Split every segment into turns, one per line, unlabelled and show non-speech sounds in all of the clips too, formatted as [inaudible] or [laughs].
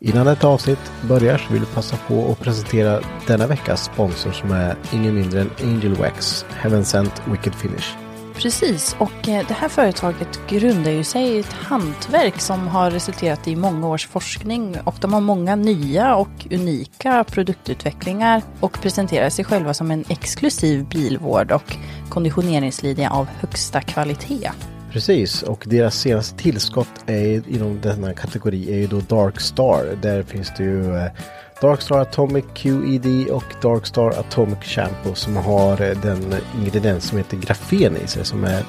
Innan detta avsnitt börjar så vill vi passa på att presentera denna veckas sponsor som är ingen mindre än Angel Wax, Heaven Sent Wicked Finish.
Precis, och eh, det här företaget grundar ju sig i ett hantverk som har resulterat i många års forskning och de har många nya och unika produktutvecklingar och presenterar sig själva som en exklusiv bilvård och konditioneringslinje av högsta kvalitet.
Precis, och deras senaste tillskott är ju- inom denna kategori är ju då Dark Star. Där finns det ju eh, Dark Star Atomic QED och Dark Star Atomic Shampoo som har eh, den ingrediens som heter grafen i sig som är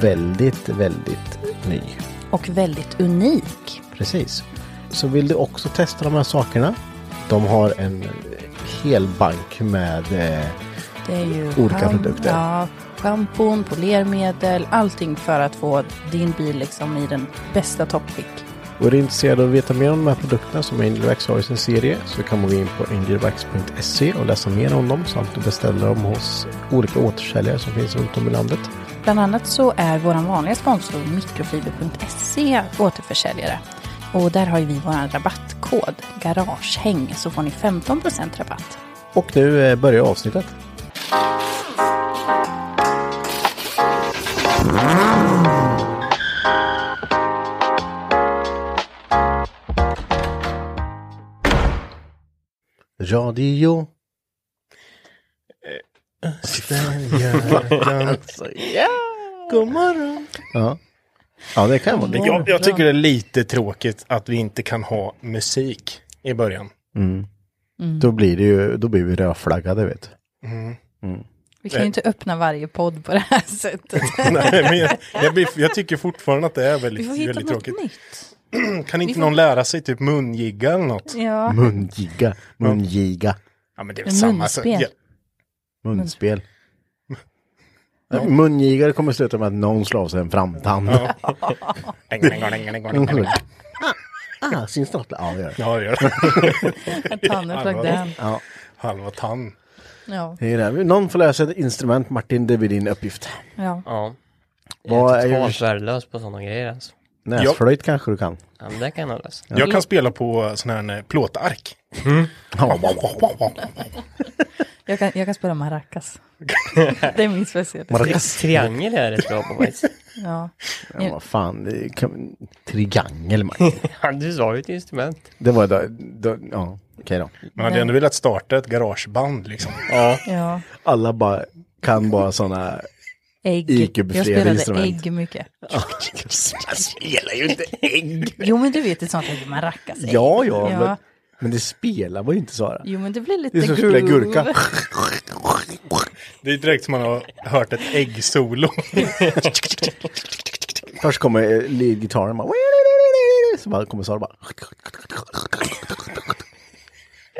väldigt, väldigt ny.
Och väldigt unik.
Precis. Så vill du också testa de här sakerna? De har en hel bank med eh,
Det är ju
Olika
scham-
produkter.
Ja, schampon, polermedel, allting för att få din bil liksom i den bästa toppskick.
Och är du intresserad av att veta mer om de här produkterna som Angelwax har i sin serie så kan man gå in på angelwax.se och läsa mer om dem samt att beställa dem hos olika återförsäljare som finns runt om i landet.
Bland annat så är vår vanliga sponsor mikrofiber.se återförsäljare. Och där har ju vi vår rabattkod, garagehäng, så får ni 15% rabatt.
Och nu eh, börjar avsnittet. Radio. Eh, [laughs]
God morgon.
alltså, Ja. ja, det kan vara det.
Jag, jag tycker det är lite tråkigt att vi inte kan ha musik i början. [laughs]
Då blir det ju, då blir vi rödflaggade vet du.
Vi
Eh.
kan ju inte öppna varje podd på det här
[laughs]
sättet.
Nej, men jag, jag, blir, jag tycker fortfarande att det är
Vi
väldigt,
får hitta
väldigt
något
tråkigt.
nytt.
Kan inte någon lära sig typ mungiga eller
[laughs]
något?
Ja.
Mungiga, mungiga,
Ja, men det är väl
Men
samma. sak.
munspel.
Ja,
munspel. Mungigare kommer sluta med att någon slår av sig en framtand. [laughs]
Mm.
Ah, syns det något? Ja, det gör det.
Ja, det gör
[laughs]
det.
Tannen flög den.
Ja.
Halva tann.
Ja,
Det är det. Någon får lära sig ett instrument, Martin, det blir din uppgift.
ja.
Ja.
Vad
Jag
är
är
ju-
totalt värdelös på sådana grejer alltså.
Näsflöjt kanske du kan.
Ja, men det kan jag nog lösa.
Jag kan spela på sån här eh, plåtark.
Jag, kan, jag kan
[laughs]
spela maracas. det är min speciella.
Maracas.
Triangel är jag rätt bra på faktiskt. [laughs]
Ja.
Ja, vad fan, det kan... triangel, Martin.
Ja, du sa ju ett instrument.
[laughs] Det var då, då ja, okej då.
Man hade ändå velat starta ett garageband liksom.
ja.
Alla bara kan bara sådana
Ägg.
IQ-befriade
Jag spelade
instrument.
ägg mycket.
Man spelar ju inte ägg.
Jo, men du vet ett sånt där man rackas ägg.
Ja, ja,
Ja.
Men, men det spelar var ju inte Sara.
Jo, men det blir lite
Det är som att spela
groove.
gurka.
Det är direkt som man har hört ett äggsolo.
Först kommer eh, leadgitarren bara... Så bara kommer Sara bara...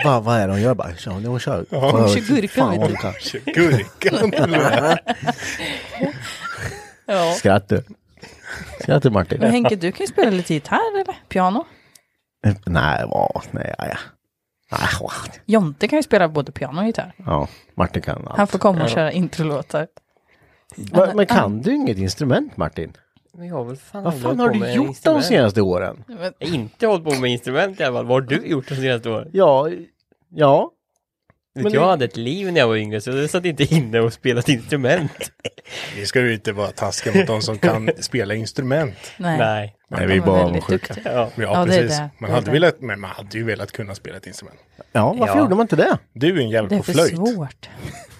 Va, vad är det hon gör? Bara, "Ja, hon kör. Hon
kör gurka, vet du.
[laughs] Gurkan.
[laughs]
[laughs]
Ja.
Skratt du. Skratt du Martin.
Men Henke, du kan ju spela lite gitarr eller piano.
Nej, va, nej, ja, ja. Nej, va.
Jonte kan ju spela både piano och gitarr.
Ja, Martin kan allt.
Han får komma och köra introlåtar.
Va, men kan du inget instrument Martin?
Men jag har väl fan
Vad fan
hållit
har
på
du
med
gjort de
instrument.
senaste åren?
Men,
Jag har inte hållit på med instrument i alla fall. Vad har du gjort de senaste åren?
Ja, ja.
Men jag hade ett liv när jag var yngre så jag satt inte inne och spelade instrument.
Vi ska ju inte vara taskiga mot de som kan
[laughs]
spela instrument.
nej.
Nej.
[laughs] Nej,
De är väldigt duktiga.
Ja.
Ja,
Ja, det är
precis.
det.
Man
Det är
hade
det.
velat, men man hade ju velat kunna spela ett instrument.
Ja, varför
Ja.
gjorde man inte det?
Du är en
Det
jävel
är
på
för
flöjt.
svårt.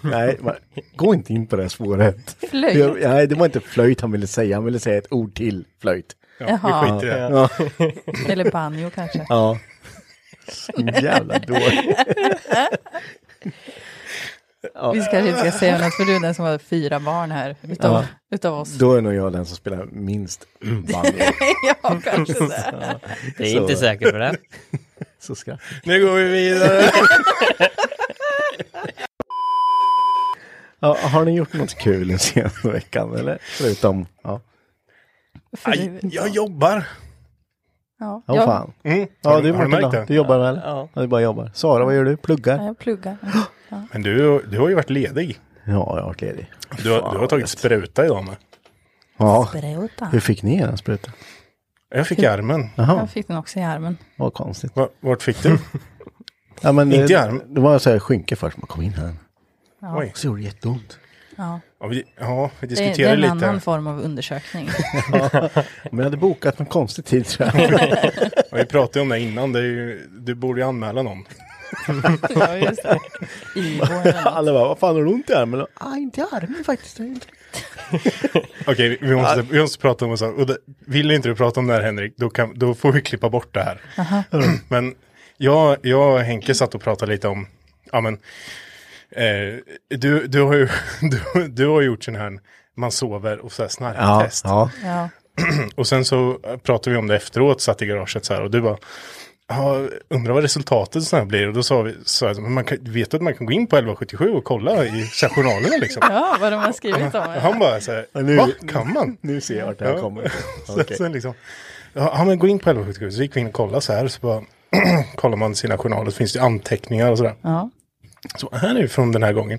Nej, va- gå inte in på det här spåret.
Flöjt?
Jag- Nej, det var inte flöjt han ville säga. Han ville säga ett ord till. Flöjt.
Vi
Jaha,
skiter i det.
Ja.
eller banjo kanske.
ja. Jävla dålig.
Vi kanske inte ska säga något, för du är den som har fyra barn här utav,
Ja.
utav oss.
Då är nog jag den som spelar minst banjo.
[laughs] ja, kanske det.
Det är
Så.
inte säkert på
[laughs]
det.
Så skrattar jag.
Nu går vi vidare.
ja, Har ni gjort något kul den senaste veckan eller? Förutom, ja.
För
Aj,
det-
jag jobbar.
Ja,
Ja,
jag-
fan.
Mm.
Ja,
Har
du
har
Martin
märkt
då?
det?
Du jobbar väl?
Ja.
Ja, du bara jobbar. Sara, vad gör du?
ja,
Pluggar?
jag pluggar.
Men du, du har ju varit ledig.
Ja, jag har varit ledig.
Du, har-
Fan,
du har tagit spruta idag med.
Ja.
Bröta.
Hur fick ni den sprutan?
Jag fick i armen.
Jaha,
Jag fick den också i armen.
vad konstigt.
Va- Vart
[laughs]
fick du?
Ja, men,
Inte
eh,
i arm.
Det var så här skynke först, man kom in här.
Oj.
Så gjorde det jätteont.
Ja.
Ja, vi, ja, vi
Det, det är
diskuterade
en
lite.
annan form av
[laughs]
undersökning.
Men jag hade bokat en konstig tid tror jag.
Ja, vi pratade om det innan. Det är ju, du borde ju anmäla någon.
ja, just det. I våren.
[laughs] Alla bara, vad fan har du ont i armen? Ah, inte i armen faktiskt. det är inte-
Okej, vi- vi, måste, vi måste prata om en sak. Och det, vill inte du prata om det här Henrik, då, kan, då får vi klippa bort det här. [clears throat] Men jag, jag och Henke satt och pratade lite om, ja men, eh, du, du, har ju, [laughs] du, du har gjort sån här, man sover och så här
Ja,
snarktest.
ja.
Ja.
Och sen så pratade vi om det efteråt, satt i garaget så här och du bara, ja, undrar vad resultatet så här blir. Och då sa vi, så här, men man kan, vet du att man kan gå in på 1177 och kolla i så här, journalerna liksom?
ja, vad de har skrivit om
Och
det.
Han bara så här,
Ja, nu-
va, kan man?
Nu ser jag vart det här
Ja.
kommer. [laughs]
Så,
Okej.
sen liksom, ja, ja, men gå in på 1177, så gick vi in och kollade så här, så bara [clears throat] kollar man sina journaler, så finns det anteckningar och sådär.
Ja.
Så här är det från den här gången.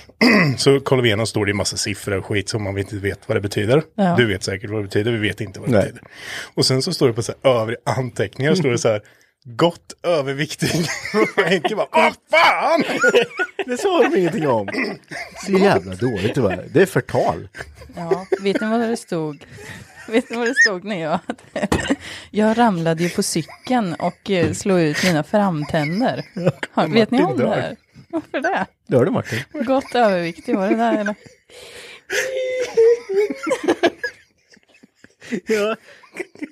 [clears throat] så kollar vi igenom, står det en massa siffror och skit som man inte vet vad det betyder.
Ja.
Du vet säkert vad det betyder, vi vet inte vad det
Nej.
betyder. Och sen så står det på så här, övriga anteckningar, står det så här,
[laughs]
gott överviktig. [laughs] Och Henke bara, vad fan!
Det sa de ingenting om. Så jävla dåligt det var. Det är förtal.
Ja, vet ni vad det stod? Vet ni vad det stod när jag... Jag ramlade ju på cykeln och eh, slog ut mina framtänder. Har- Vet ni om det här? Varför det?
Det hörde Martin.
Gott överviktig var det där eller?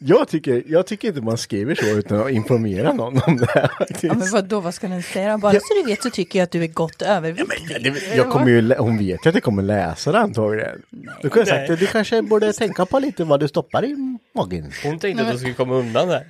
Jag tycker, jag tycker inte man skriver så utan att informera någon om det här.
Ja, men vad då vad ska den säga? Bara så du vet så tycker jag att du är gott överviktig.
Jag kommer ju, lä- hon vet ju att jag kommer läsa det antagligen. Då kunde jag sagt att du kanske borde tänka på lite vad du stoppar i magen.
Hon tänkte att hon skulle komma undan där.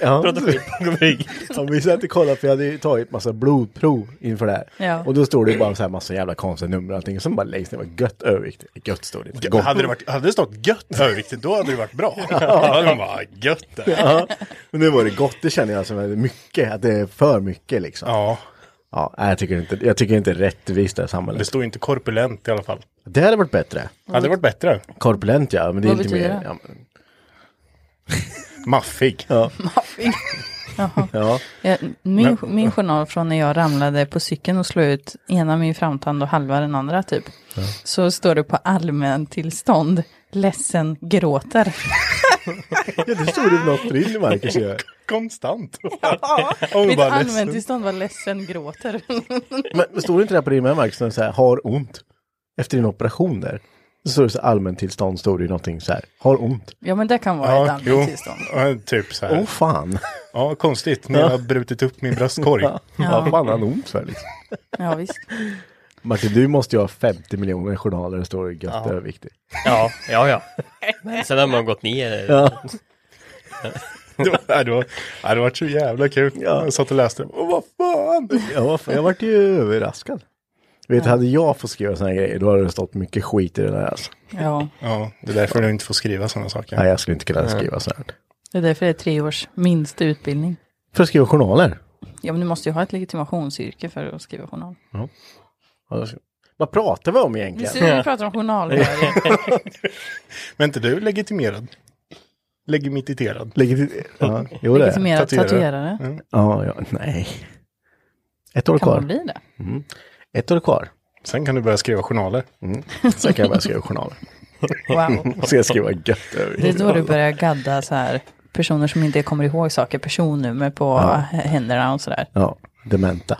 Ja. [laughs]
Prata skit bakom ryggen.
Ja, vi satt och kollade för jag hade ju tagit massa blodprov inför det här.
Ja.
Och då stod det ju bara så här massa jävla konstiga nummer och allting. Som bara längst ner var gött överviktigt. Gött stod det. Gott.
Hade det, varit, hade det stått gött överviktigt, då hade det varit bra. Då hade de bara, gött där.
Ja. Men nu var det gott, det känner jag som är mycket, att det är för mycket liksom. Ja.
Ja,
nej, jag tycker inte, jag tycker inte det är rättvist det här
det
samhället.
står ju inte korpulent i alla fall.
Det hade varit bättre.
Hade det varit bättre?
Korpulent ja, men det är
Vad
inte
betyder
mer.
det?
Ja, men-
Maffig.
ja.
Ja, min, min journal från när jag ramlade på cykeln och slog ut ena min framtand och halva den andra typ. Så står det på allmän tillstånd ledsen gråter.
ja, det stod det något in i Marcus ju.
Konstant.
Mitt
bara
allmäntillstånd
ledsen.
var ledsen gråter.
Men stod det inte där på din med Marcus, när du så här, har ont? Efter din operation där. Så står det så allmäntillstånd, står det ju någonting så här. Har ont.
Ja, men det kan vara ett
Ja,
annat
jo.
tillstånd.
Ja, typ så här.
Åh fan.
Ja, konstigt. Ni har brutit upp min bröstkorg.
Ja. Vad fan har han ont för liksom?
Ja, visst.
[laughs] Martin, du måste ju ha 50 miljoner journaler det står gött överviktig.
Ja,
[laughs]
ja, ja. Men sen har man gått ner.
[laughs] Det var, det, var, det hade varit så jävla kul. Jag satt och läste det. Åh, vad fan!
Ja, vad fan, jag vart ju överraskad. Vet, hade jag fått skriva såna här grejer, då hade det stått mycket skit i det där. Alltså.
Ja,
Ja, det är därför du inte får skriva sådana saker.
Nej, jag skulle inte kunna skriva så här.
det är därför det är tre års minsta utbildning.
För att skriva journaler?
Ja, men du måste ju ha ett legitimationsyrke för att skriva journal.
Ja, jag ska- Vad pratar vi om egentligen?
Ser du, vi pratar om journalföring.
Men är inte du legitimerad? Legitimiterad?
Legit- ja, jo, det är.
Legitimerad
Tatuerare.
tatuerare.
Ja, ja, nej. Ett år
Kan man
kvar.
bli det?
Ett år kvar.
Sen kan du börja skriva journaler.
Sen kan jag börja skriva journaler.
Wow.
Så jag skriva gött
Det är
överviktig.
då du börjar gadda så här personer som inte kommer ihåg saker, personnummer på händerna och sådär.
Ja, dementa.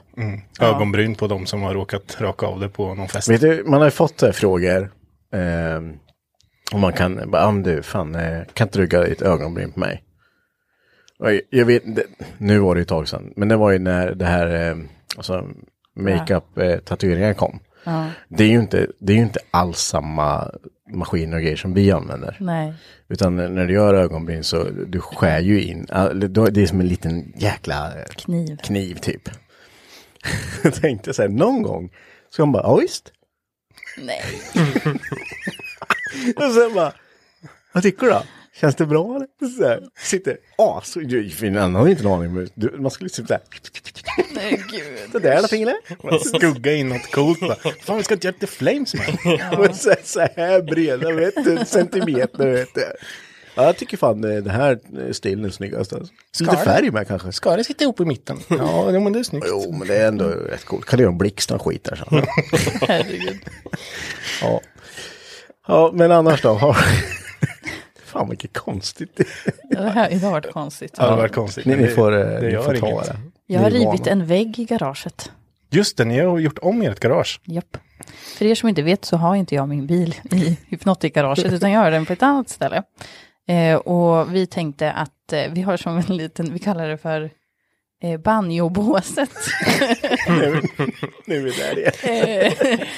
Ögonbryn på de som har råkat raka av det på någon fest.
Vet du, man har ju fått så här frågor. Eh, och man kan, bara, ah, men du, fan, eh, kan inte du göra ditt ögonbryn på mig? Och jag- jag vet, det, nu var det ju ett tag sedan, men det var ju när det här eh, alltså, makeup-tatueringar kom. Det, är ju inte, det är ju inte alls samma maskiner och grejer som vi använder.
Nej.
Utan när du gör ögonbryn så du skär ju in, ah, det det är som en liten jäkla eh,
Kniv.
kniv typ. [laughs] jag tänkte så här, någon gång ska man bara, ja visst.
Nej.
[laughs] Och sen bara, vad tycker du då? Känns det bra eller? Så här, sitter as, du, för en annan har ju inte en aning. men du- Man skulle typ så här,
Nej, gud.
det där är fingret.
Skugga in något
[laughs]
coolt bara. Fan, vi ska inte göra The Flames man.
Och så, så här breda, vet du, centimeter, vet du. Ja, jag tycker fan eh, den här eh, stilen är snyggast. Alltså. Lite
Skara.
färg med kanske.
Ska det sitta ihop i mitten? Ja, jo, men det är snyggt.
Jo, men det är ändå rätt coolt. Kan du göra en blixt och skit där [laughs] så.
Herregud.
Ja. ja, men annars då? Har... [laughs] Fan vilket konstigt.
Det här idag har varit konstigt.
Det hade varit konstigt.
Ni,
men
ni
det-
får, eh,
det
ni
gör
får ta
inget.
det.
Jag har
Ni är
rivit
vana.
en vägg i garaget.
Just det, ni har gjort om ert garage.
Japp. För er som inte vet så har inte jag min bil i Hypnotic-garaget utan jag har den på ett annat ställe. Eh, och vi tänkte att eh, vi har som en liten, vi kallar det för eh, banjobåset. [laughs]
Nu är vi där igen.
Eh.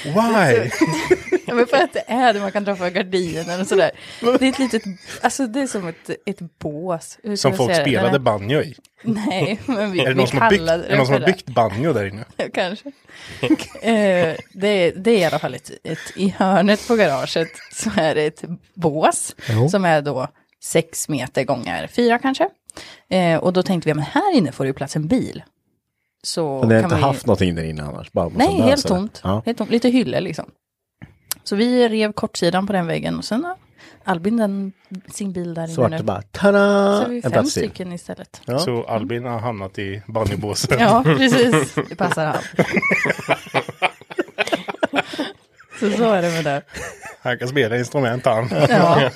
Why?
Ja, men för att det är det, man kan dra för gardiner och sådär. Det är ett litet, alltså det är som ett, ett bås. Hur ska
Som
jag
folk
säga det?
spelade
Nej,
banjo i.
Nej, men vi,
Är det
vi
någon som har byggt,
kallade
är det
[laughs]
någon som
för
har byggt banjo där inne?
[laughs] kanske. eh, det, är- det är i alla fall ett, ett, i hörnet på garaget så är det ett bås som är då sex meter gånger fyra kanske. Eh, och då tänkte vi, ja, men här inne får det ju plats en bil. Så
Ni har
kan
inte
vi...
haft någonting där inne annars? Bara massa
Nej, helt
lösare.
tomt.
Ja.
helt tomt. Lite hyllor liksom. Så vi rev kortsidan på den väggen och sen har Albin den, sin bil där
Så vart
inne
det
nu.
bara, tada!
Så vi är
en
fem
plats till.
stycken istället.
Ja.
Så Albin har hamnat i banjobåset.
Ja, precis. Det
[laughs]
passar han. Så så är det med det.
Han kan spela instrument han.
Ja,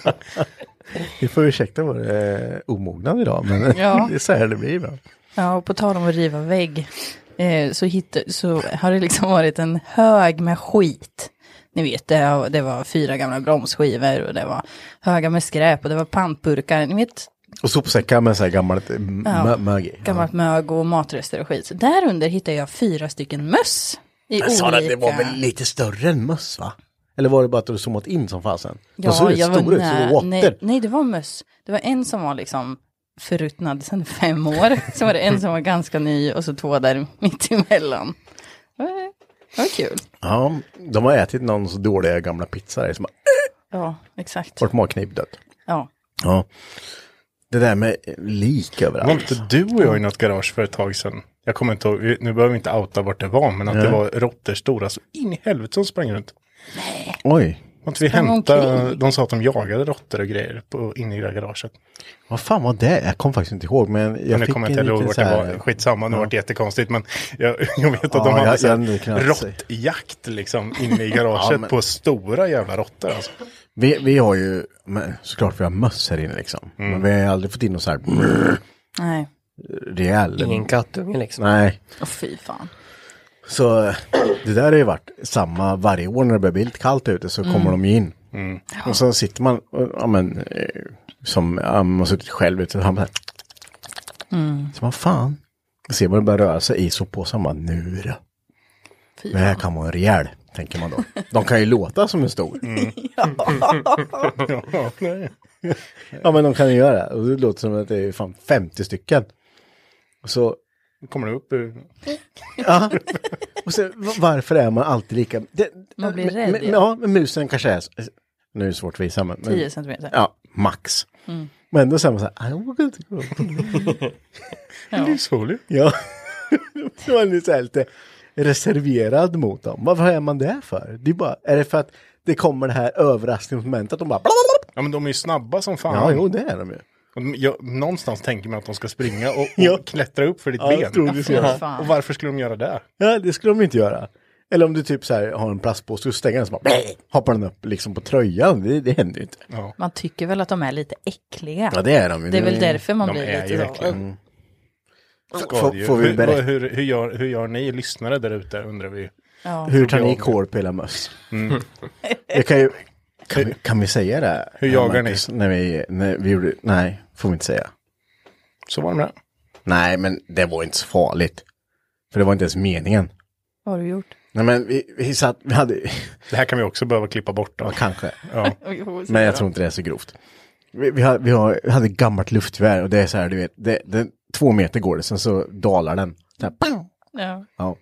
Vi får ursäkta vår eh, omognad idag, men
Ja.
[laughs] det är så här det blir ibland.
ja och på tal om att riva vägg eh, så, hitta, så har det liksom varit en hög med skit. Ni vet, det, har- det var fyra gamla bromsskivor och det var höga med skräp och det var pantburkar. Ni vet,
Och sopsäckar med så här gammalt m-
Ja.
mög i.
gammalt mög och matrester och skit. Så där under hittade jag fyra stycken möss. I
Jag sa
olika...
att det var väl lite större än möss, va? Eller var det bara att du zoomat in som fasen?
Ja,
De såg rätt
jag var
stora ut, så det
nä-
var
nej,
åter.
nej, det var möss. Det var en som var liksom förruttnad sedan fem år. Så var det en som var ganska ny och så två där mitt emellan. Det var- Det var kul.
Ja, de har ätit någons dåliga gamla pizza där som har
Ja, exakt.
varit magknip dött.
Ja.
Ja. Det där med lik
Var
överallt.
inte du och jag i något garage för ett tag sedan? Jag kommer inte ihåg, vi- nu behöver vi inte outa vart det var, men att det var råttor stora så in i helvete som sprang runt.
Oj,
Att vi
Sprang
hämtade,
omkring.
de sa att de jagade råttor och grejer på, inne i det där garaget.
vad fan var det? Jag kommer faktiskt inte ihåg, men jag
nu
fick
kommer
en
jag inte ihåg
liten
vart
så
det
här...
var, skitsamma, nu vart det jättekonstigt, men jag, jag vet att
Ja,
de hade
jag-
så
jag hade
här
kunnat se.
råttjakt liksom inne i garaget
Ja, men-
på stora jävla råttor alltså.
Vi, vi har ju, men såklart vi har möss här inne liksom.
Mm.
Men vi har ju aldrig fått in någon så här brrr,
Nej,
rejäl.
Ingen kattunge liksom.
Nej.
och fy fan.
Så eh, det där har ju varit samma varje år när det börjar bli lite kallt ute så kommer de ju in. Och så sitter man, och, ja men, eh, som ja, man har suttit själv ute och han bara... Så man fan. Då ser man det börjar röra sig i soppåsen, man nu då.
Fy
Det här kan vara en rejäl, tänker man då. De kan ju låta som en stor. [laughs]
Ja, nej.
Ja men de kan ju göra det. Och det låter som att det är fan 50 stycken. Och så
Kommer det upp ur...
Ja. Och sen, va- varför är man alltid lika... Det,
Man blir
men-
rädd,
Men,
ja.
ja, men musen kanske är... så- Nu är det svårt att visa, men... men
10 centimeter. Mm.
Ja, max. Men ändå säger man så här... I vågar inte gå upp."
Livshålig.
Ja. [laughs] Då är man så här lite reserverad mot dem. Vad, vad är man det för? Det är, bara, är det för att det kommer det här överraskningsmomentet? Att de bara...
Ja, men de är ju snabba som fan.
Ja, jo, det är de ju.
Och de- jag, någonstans tänker man att de ska springa och, och
[laughs] Ja.
klättra upp för ditt
Ja, jag
ben.
tror det ska
göra. Fan.
Och varför skulle de göra det?
Ja, det skulle de ju inte göra. Eller om du typ så här har en plastpåse och stänger den så bara hoppar den upp liksom på tröjan. Det, det händer ju inte.
Man tycker väl att de är lite äckliga.
Ja, det är de ju.
Det är väl därför man
De
blir
är ju
lite så.
äckliga.
Mm.
Får, får vi
hur,
berätta?
vad- hur, hur, gör, hur gör ni lyssnare där ute undrar vi. Mm.
Ja.
Hur tar ni kål på hela möss? [laughs] Det kan ju... Kan vi, kan vi säga det?
Hur jagar ni?
Marcus, När vi, när vi gjorde, nej, får vi inte säga.
Så var det med det.
Nej, men det var inte så farligt. För det var inte ens meningen.
Vad har du gjort?
Nej, men vi, vi satt, vi hade,
Det här kan vi också behöva klippa bort.
ja,
Då.
kanske.
Ja.
Men jag tror inte det är så grovt. Vi, vi, har, vi, har, vi hade ett gammalt luftgevär och det är så här, du vet, det, det, två meter går det, sen så dalar den. Så här, pang!
Ja.
Ja.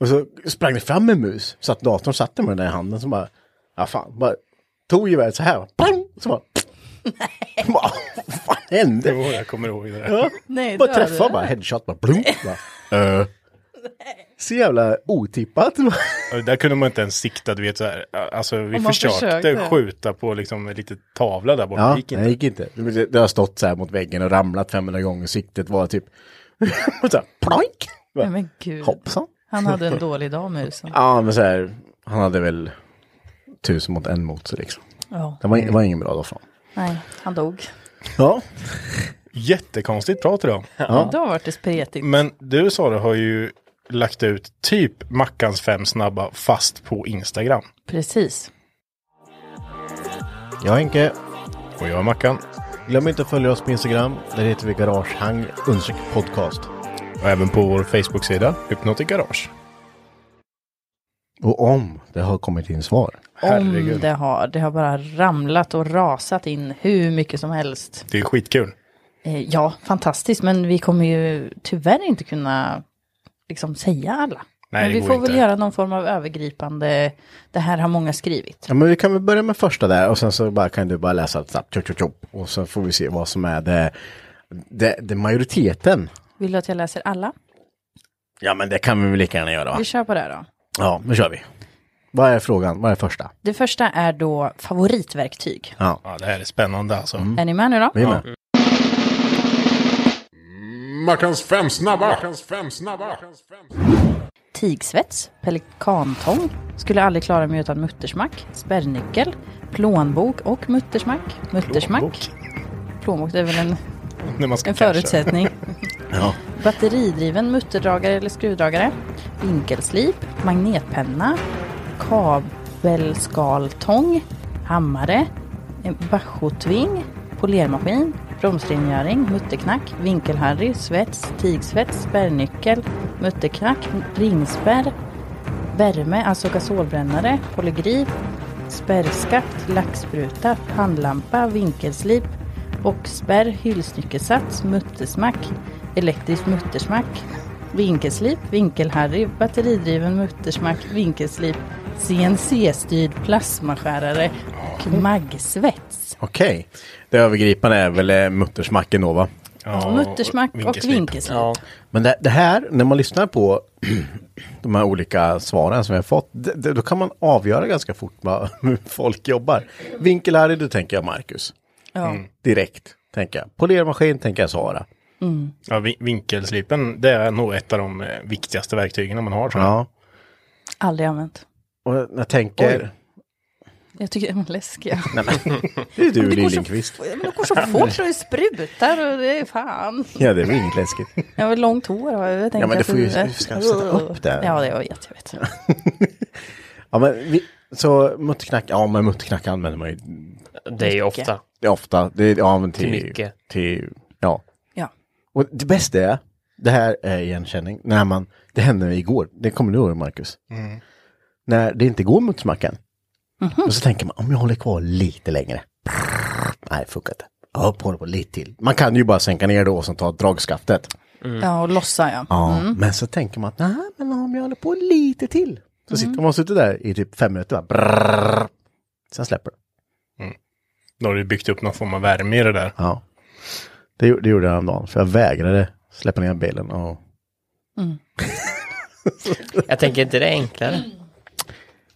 Och så sprang det fram en mus, så att datorn satt med den där i handen som bara, ja fan, bara tog geväret så här, pang, och så bara, nej. bara vad fan
Det
hände?
var jag kommer ihåg det där.
Nej,
bara
det har
träffa,
du.
bara headshot, bara blunk, bara, uh. Så jävla otippat.
Ja, Där kunde man inte ens sikta, du vet så här. Alltså vi
Om man
försökte,
försökte.
skjuta på liksom en liten tavla där borta.
Ja,
det gick inte.
gick inte. Det, det har stått så här mot väggen och ramlat 500 gånger, siktet var typ, [laughs] och så här, ploink,
Nej,
bara,
men gud.
hoppsan.
Han hade en dålig
[laughs]
dag musen.
Ja, men så här, han hade väl tusen mot en motor liksom.
Ja.
Det var, det var ingen bra då fan.
Nej, han dog.
Ja,
Jättekonstigt prat idag.
Då har varit det spretigt.
Men du Sara har ju lagt ut typ Mackans fem snabba fast på Instagram.
Precis.
jag Henke.
Och jag är Mackan.
Glöm inte att följa oss på Instagram. Där heter vi Garagehang understreck podcast.
Och även på vår Facebook-sida Hypnotic Garage.
Och om det har kommit in svar.
Om det har. Det har bara ramlat och rasat in hur mycket som helst.
Det är skitkul.
Eh, Ja, fantastiskt. Men vi kommer ju tyvärr inte kunna liksom säga alla.
Nej,
men
det
vi
går
får
inte.
väl göra någon form av övergripande. Det här har många skrivit.
Ja, men vi kan väl börja med första där och sen så bara, kan du bara läsa ett snabbt. Tjopp, tjopp, tjopp. Och sen får vi se vad som är det, det, det majoriteten.
Vill du att jag läser alla?
Ja, men det kan vi väl lika gärna göra va?
Vi kör på det här då.
Ja, nu kör vi. Vad är frågan? Vad är första?
Det första är då favoritverktyg.
Ja.
Ja, det här är spännande alltså.
Mm.
Är ni med nu då?
Vi är med.
Mackans fem snabba! Mackans fem snabba!
Tigsvets, pelikantång, skulle aldrig klara mig utan muttersmack, spärrnyckel, plånbok och muttersmack. Muttersmack. Plånbok, det är väl en,
När man ska
en
casha. [laughs]
förutsättning.
Ja.
Batteridriven mutterdragare eller skruvdragare, vinkelslip, magnetpenna, kabelskaltång, hammare, eh, bajotving, polermaskin, bromsrengöring, mutterknack, vinkelharry, svets, tigsvets, spärrnyckel, mutterknack, ringspärr, värme, alltså gasolbrännare, polygrip, spärrskaft, lackspruta, pannlampa, vinkelslip och spärr, hylsnyckelsats, muttersmack, elektrisk muttersmack, vinkelslip, vinkelharry, batteridriven muttersmack, vinkelslip, CNC-styrd plasmaskärare och maggsvets.
Okej. Det övergripande är väl eh, muttersmacken då va?
Ja,
Muttersmack och
vinkelslip.
vinkelslip.
Men det, det här, när man lyssnar på [clears throat] de här olika svaren som vi har fått, det, det, då kan man avgöra ganska fort vad [laughs] hur folk jobbar. Vinkelharry, då tänker jag Marcus.
Ja.
Direkt, tänker jag. Polermaskin, tänker jag Sara.
Ja, vi- vinkelslipen, det är nog ett av de eh, viktigaste verktygen man har. Tror jag.
Ja.
Aldrig använt.
Och när jag tänker...
Jag tycker de är läskiga.
[laughs] Nej, men, [laughs] det är du,
Det går, så,
Liljeqvist.
men det går så fort och det sprutar och det är fan.
Ja, det är väl inget läskigt.
Jag har långt hår. och Jag tänkte
men du
att
får ju- du ska sätta upp det.
Ja, det jag vet jag. vet.
Ja, men vi, Så mutterknack, ja men mutterknack använder man ju
Det är ju ofta.
ofta. Det, är- ja, men till,
Till mycket.
Till, ja.
Ja.
Och det bästa är, det här är igenkänning, när man, det hände mig igår, det kommer du ihåg Marcus. När det inte går muttersmackan. Och så tänker man, om jag håller kvar lite längre. Nej, funkar inte. Ja, på det på lite till. Man kan ju bara sänka ner då och sen ta dragskaftet.
Ja, och lossa ja.
Ja, Mm. men så tänker man att nej, men om jag håller på lite till. Så sitter man och sitter där i typ fem minuter. Bara, brrrr. sen släpper det.
Då har du byggt upp någon form av värme i det där.
Ja. Det, gjorde- det gjorde jag häromdagen, för jag vägrade släppa ner bilen. Och...
Jag tänker inte det är enklare.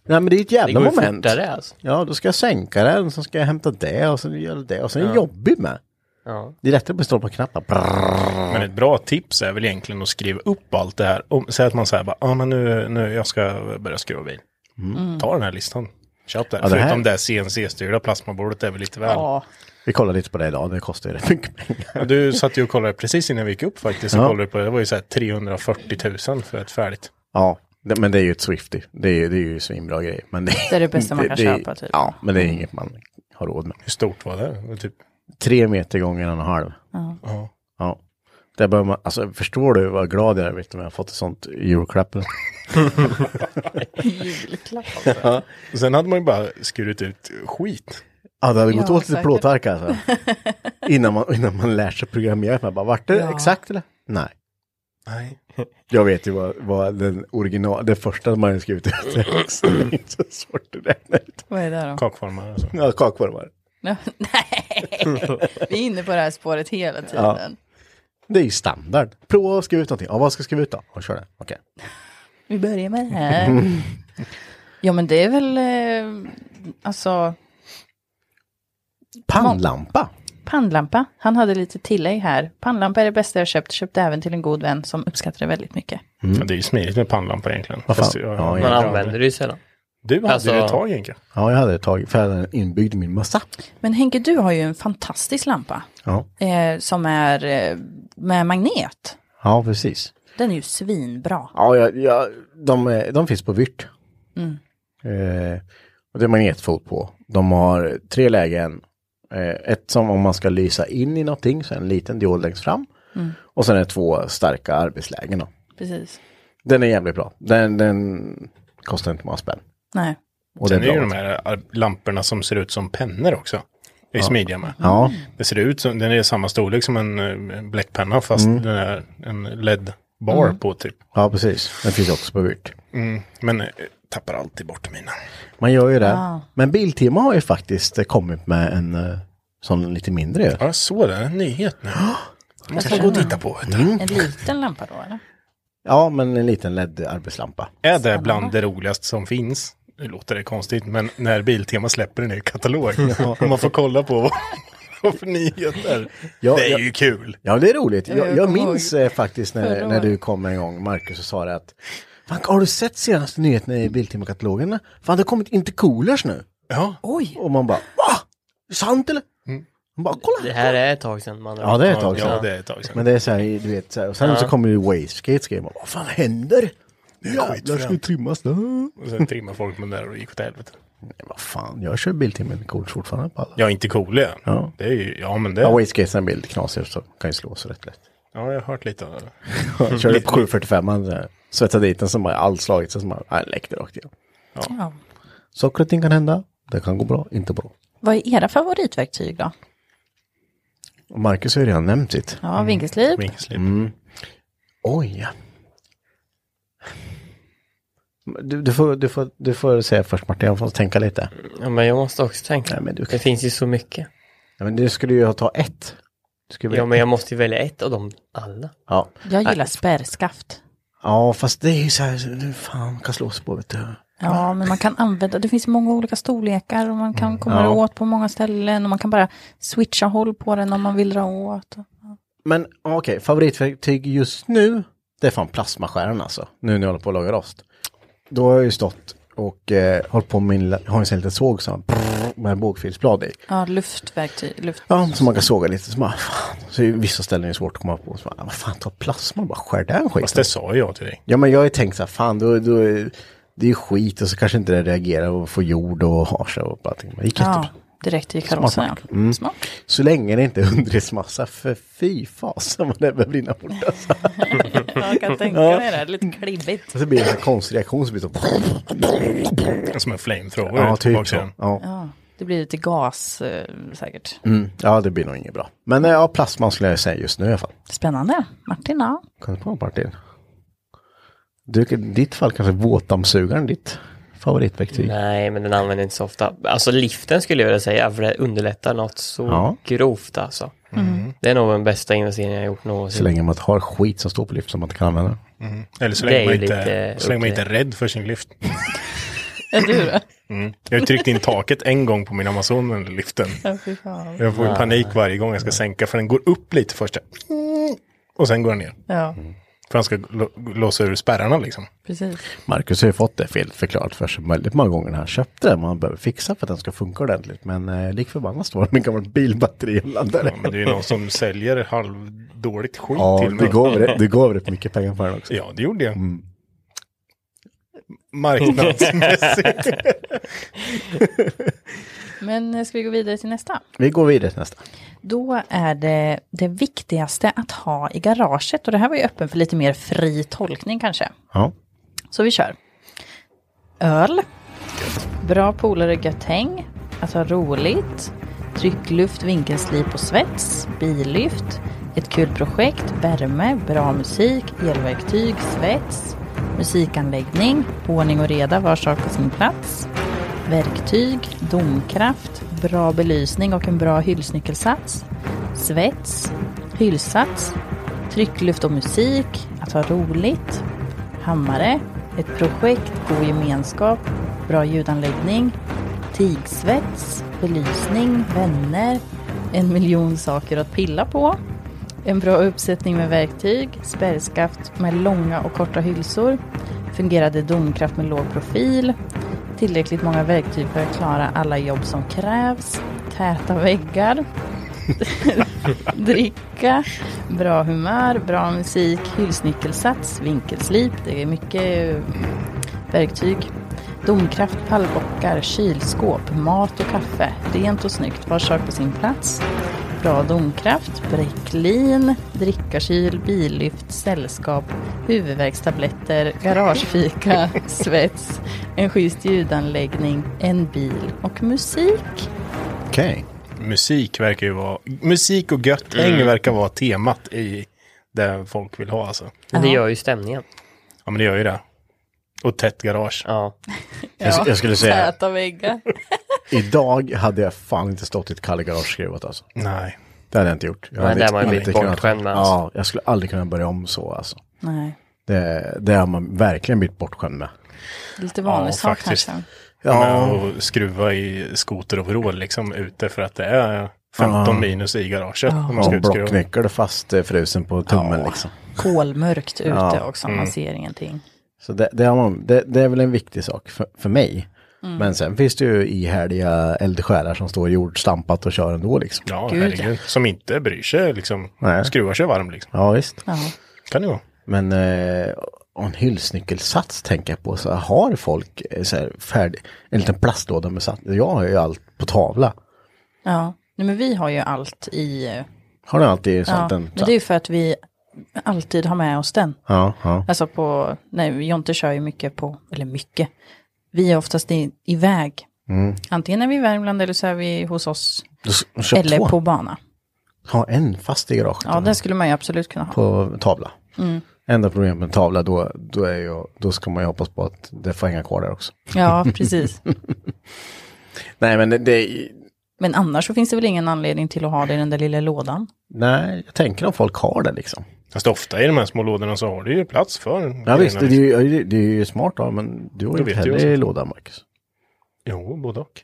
Nej, men det är ju ett
Det
jävla
går ju
moment.
fortare alltså.
Ja, då ska jag sänka den, sen ska jag hämta det och sen gör jag det. Och sen är det jobbigt med.
Ja.
Det är lättare att bara stå på knappar. Brrrr.
Men ett bra tips är väl egentligen att skriva upp allt det här. Om, säg att man säger bara, ja ah, men nu, nu jag ska börja skruva bil. Ta den här listan. Köp den.
Mm. Ja, det här-
Förutom det här CNC-styrda plasmabordet är väl lite väl.
Ja,
Vi kollar lite på det idag, det kostar ju rätt mycket pengar.
Ja, Du satt ju och kollade precis innan vi gick upp faktiskt.
Ja.
Och kollade på det. det var ju så här 340 000 för ett färdigt.
[laughs] Ja, det, men det är ju ett Swifty. Det är, det är ju svinbra grej. Men det,
Det är det bästa man kan
är-
köpa, typ.
Ja, men det är inget man har råd med.
Hur stort var det? det? var Typ,
Tre meter gånger en och en halv.
ja.
Ja. Där bör man, alltså, förstår du vad glad jag är vet du, om jag har fått ett sånt julklapp?
julklapp.
Och Sen hade man ju bara skurit ut skit.
Ja, det hade gått
Ja,
åt lite
säkert.
plåtark
[laughs]
alltså. innan, man, innan man lär sig programmera. Man bara, vart det
Ja.
exakt eller? Nej.
Nej.
Jag vet ju vad, vad den original, det första man har skrivit ut är. Så det
Mm.
är inte så svårt att räkna ut.
Vad är det då?
Kakformar och så.
Ja, kakformar.
Nej, vi är inne på det här spåret hela tiden.
Det är ju standard. Prova att skriva ut någonting. Ja, vad ska jag skriva ut då? Och kör det. Okej.
Vi börjar med det här. Ja, men det är väl, eh, alltså,
Pannlampa.
pannlampa. Han hade lite tillägg här. Pannlampa är det bästa jag köpt. Köpte även till en god vän som uppskattade väldigt mycket.
Ja, det är ju smidigt med pannlampa egentligen.
Vad fan?
Fast jag-
Ja, Man
Man
Ja,
använder det ju sällan.
Du hade
Alltså-
ju ett tag egentligen.
Ja, jag hade ett tag, för jag hade den inbyggd i min massa.
Men Henke, du har ju en fantastisk lampa.
Ja,
Eh, som är eh, med magnet.
ja precis.
Den är ju svinbra.
Ja, jag, jag, de, är- de finns på Vyrt. Eh, och det är magnetfot på. De har tre lägen. Eh, ett som om man ska lysa in i någonting, så är en liten diod längst fram. Och sen är det två starka arbetslägen. Då.
Precis.
Den är jävligt bra. Den, den kostar inte många spänn.
Nej.
Och
Sen är,
det
det
är
ju
bra.
de här ar- lamporna som ser ut som pennor också. Det är smidiga med.
Ja,
Det ser ut som, den är samma storlek som en eh, bläckpenna fast den är en LED-bar på typ.
ja, precis. Den finns också på Vyrt.
Mm. Men eh, tappar alltid bort mina.
Man gör ju det. Men Biltema har ju faktiskt eh, kommit med en eh, sån lite mindre. ju.
Ja, jag såg det. En nyhet nu. Det måste man gå och titta på. vet du.
En liten lampa då eller?
Ja, men en liten LED-arbetslampa.
Är det bland det roligaste som finns? Nu låter det konstigt, men när Biltema släpper en ny
[laughs]
katalog. och man får kolla på vad- vad för nyheter.
Ja,
det är
ja.
ju kul.
Ja, det är roligt. Jag, jag,
jag kommer
minns eh, faktiskt när, när du kom en gång, Marcus, och sa det att Fan, har du sett senaste nyheterna i Biltema-katalogerna? Fan, det har kommit intercoolers nu.
Ja,
Oj.
Och man bara, va? Är det sant eller? Man bara, kolla!
Det här är ett tag sedan man
Ja, det är ett tag
Mm. ja
sedan.
det är ett tag sedan.
Men det är så här, du vet, så här, och sen så kommer ju Wastegates grejer. Man bara, Vad fan händer? Jävlar, ska det trimmas då?
Och sen trimmar folk med det där och det gick åt helvete.
Nej, vad fan, jag kör Biltema intercoolers fortfarande på alla.
Jag är inte cool igen.
Ja.
Det är ju, ja men det.
Ja, Wastegates är en bild knasig så kan ju slås rätt lätt.
Ja, jag har hört lite av det.
Jag körde på 745, man så här, svettade dit den som bara allt slagit sig, som bara, nej, läckte rakt igenom.
Ja.
Saker och ting kan hända. Det kan gå bra, inte bra.
Vad är era favoritverktyg då?
Och Marcus har ju redan nämnt sitt.
Ja, vinkelslip.
Vinkelslip.
Mm. Oj. Du, du, får, du, får, du får säga först Martin, jag får tänka lite.
Ja, men jag måste också tänka.
Nej, men du kan-
Det finns ju så mycket.
Ja, men du skulle ju ta ett. Du skulle
Ja, men jag måste ju välja ett av dem alla.
ja.
Jag gillar spärrskaft.
ja, fast det är ju så här, så nu fan kan slås på vet du.
Ja, men man kan använda, det finns många olika storlekar och man kan komma
Ja.
åt på många ställen och man kan bara switcha håll på den om man vill dra åt.
Men ja, okej, favoritverktyg just nu, det är fan plasmaskäran alltså. Nu när jag håller på att laga rost. Då har jag ju stått och eh, hållit på med min, lilla- jag har en sån här liten såg som, med bågfilsblad i.
Ja, luftverktyg. Luft.
Ja, så man kan såga lite. Så, bara, fan. så i vissa ställen är det svårt att komma på. Så bara, vad fan, ta plasma och bara skär den
Fast det
skiten.
sa jag till dig.
Ja, men jag har ju tänkt så här, fan, då, då, det är ju skit och så kanske inte den reagerar och får jord och harsa och allting. Men det gick
Ja,
jättebra.
direkt i karossen. ja. Smart.
Så länge det inte är underredsmassa, för fy fasen vad det börjar brinna bort. Alltså.
Jag kan tänka mig det, lite klibbigt.
Så blir det en sån här konstig reaktion som blir så...
Som en flamethrower.
Ja,
på
typ så.
baksidan.
Ja.
Det blir lite gas eh, säkert.
Mm. ja, det blir nog inget bra. Men eh, ja, plasman skulle jag säga just nu i alla fall.
Spännande. Martin, ja.
Kan du på Martin? Du, i ditt fall kanske våtdammsugaren ditt favoritverktyg.
Nej, men den använder jag inte så ofta. Alltså liften skulle jag vilja säga, för det underlättar något så
Ja. Mm.
grovt alltså. Det är nog den bästa investeringen jag har gjort
Så
någonsin.
länge man inte har skit som står på lyft som man inte kan använda.
Eller så
Det
länge,
är
man
ju
inte,
lite
så länge man
upp
inte är rädd för sin lift.
Är du det?
Jag har ju tryckt in taket en gång på min Amazon under liften.
Ja, fy fan.
Jag får ju panik varje gång jag ska sänka för den går upp lite först. Och sen går den ner.
Ja,
För han ska lo- låsa ur spärrarna liksom.
precis.
Marcus har ju fått det fel förklarat för sig väldigt många gånger när han köpte den. Man behöver fixa för att den ska funka ordentligt. Men eh, lik förbannat står den i en gammal bilbatteri och landar
Ja, men det är ju någon som säljer halvdåligt skit
Ja,
till mig.
du gav, rätt- du gav rätt mycket pengar för den också.
Ja, det gjorde jag.
Mm.
Marknadsmässigt.
[laughs]
Men eh, ska vi gå vidare till nästa?
Vi går vidare till nästa.
Då är det det viktigaste att ha i garaget. Och det här var ju öppen för lite mer fri tolkning kanske.
Ja.
Så vi kör. Öl. Bra polare gött häng. Att ha roligt. Tryckluft, vinkelslip och svets. Billyft. Ett kul projekt. Värme. Bra musik. Elverktyg. Svets. Musikanläggning. Ordning och reda. Var sak på sin plats. Verktyg. Domkraft. Bra belysning och en bra hyllsnyckelsats. Svets. Hyllsats. Tryckluft och musik. Att ha roligt. Hammare, ett projekt, god gemenskap, bra ljudanläggning, tigsvets, belysning, vänner, en miljon saker att pilla på, en bra uppsättning med verktyg, spärrskaft med långa och korta hylsor, fungerade domkraft med låg profil, tillräckligt många verktyg för att klara alla jobb som krävs, täta väggar, dricka, bra humör, bra musik, hyllsnyckelsats, vinkelslip. Det är mycket eh, verktyg. Domkraft, pallbockar, kylskåp, mat och kaffe. Rent och snyggt, var sak på sin plats. Bra domkraft, bräcklin, drickarkyl, billyft, sällskap, huvudvärkstabletter, garagefika, svets, en schysst ljudanläggning, en bil och musik.
Okej.
musik verkar ju vara, musik och gött häng verkar vara temat i det folk vill ha alltså.
Men det gör ju stämningen.
Ja, men det gör ju det. Och tätt garage.
Ja.
Jag, jag skulle säga,
Täta väggar.
idag hade jag fan inte stått i ett kallgarageskruvat alltså.
Nej.
Det hade jag inte gjort. Jag
Nej,
hade
där har man
inte
blivit
kunnat-
bortskämd med, alltså.
Ja, jag skulle aldrig kunna börja om så alltså.
Nej.
Det, det har man verkligen blivit bortskämd med.
Lite vanlig
Ja,
sak
faktiskt.
kanske.
Ja.
Ja. Och skruva i skoteroverall liksom ute för att det är 15 minus i garaget. när man ska
Ja,
ut skruva.
blocknyckel fast eh, frusen på tummen liksom.
Kolmörkt ute också, man ser ingenting.
Så det, det, har man, det, det är väl en viktig sak för, för mig.
Mm.
Men sen finns det ju ihärdiga eldsjälar som står jordstampat och kör ändå liksom.
Ja,
Gud,
herregud. Som inte bryr sig liksom.
Nej.
Skruvar sig varm liksom.
Ja, visst.
Ja.
Kan det vara.
Men eh, och en hyllsnyckelsats tänker jag på. Så har folk eh, så här färdig, en liten plastlåda med sats. Jag har ju allt på tavla.
ja. Nej, men vi har ju allt i... eh,
Har ni alltid
Ja.
sånt? Ja, en,
Men det är ju för att vi alltid har med oss den.
ja, ja.
Alltså på... Nej, Jonte kör ju mycket på... Eller mycket. Vi är oftast i, iväg. Antingen är vi i Värmland eller så är vi hos oss.
Du s- köp
eller
två.
på bana.
Ha en fast i garaget.
Ja, Mm. det skulle man ju absolut kunna ha.
På tavla. Enda problemet med tavla då, då, är ju, då ska man ju hoppas på att det får hänga kvar där också.
Ja, precis.
Nej men det, det
Men annars så finns det väl ingen anledning till att ha det i den där lilla lådan.
nej jag tänker om folk har det liksom.
Fast ofta i de här små lådorna så har du ju plats för
Ja
grejerna,
visst, det är,
liksom.
ju, det är- det är ju smart då, men du har ju
Då
inte
vet jag
heller
också.
låda Marcus.
Jo, både och.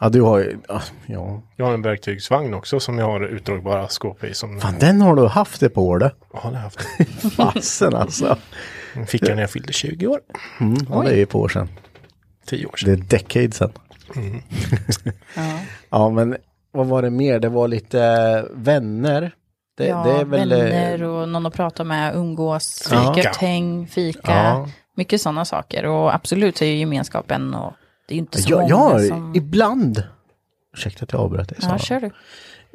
Ja du har ju, ja, ja.
Jag har en verktygsvagn också som jag har utdragbara skåp i. Som
Fan den har du haft det på du.
Ja, det har jag haft.
Fasen alltså.
Den fick jag när jag fyllde 20 år.
Mm, ja, det är ju på år sedan.
10 år sedan.
Det är decade sedan. Mm. [laughs] ja men vad var det mer? Det var lite eh, vänner. Det,
ja,
det är väl eh,
vänner och någon att prata med, umgås,
Ja.
fika, häng, fika,
Ja.
Mycket sådana saker. Och absolut så är ju gemenskapen och det är ju inte så
Ja,
många
ja
som...
ibland. Ursäkta att jag avbröt dig. Sara.
Ja, kör du.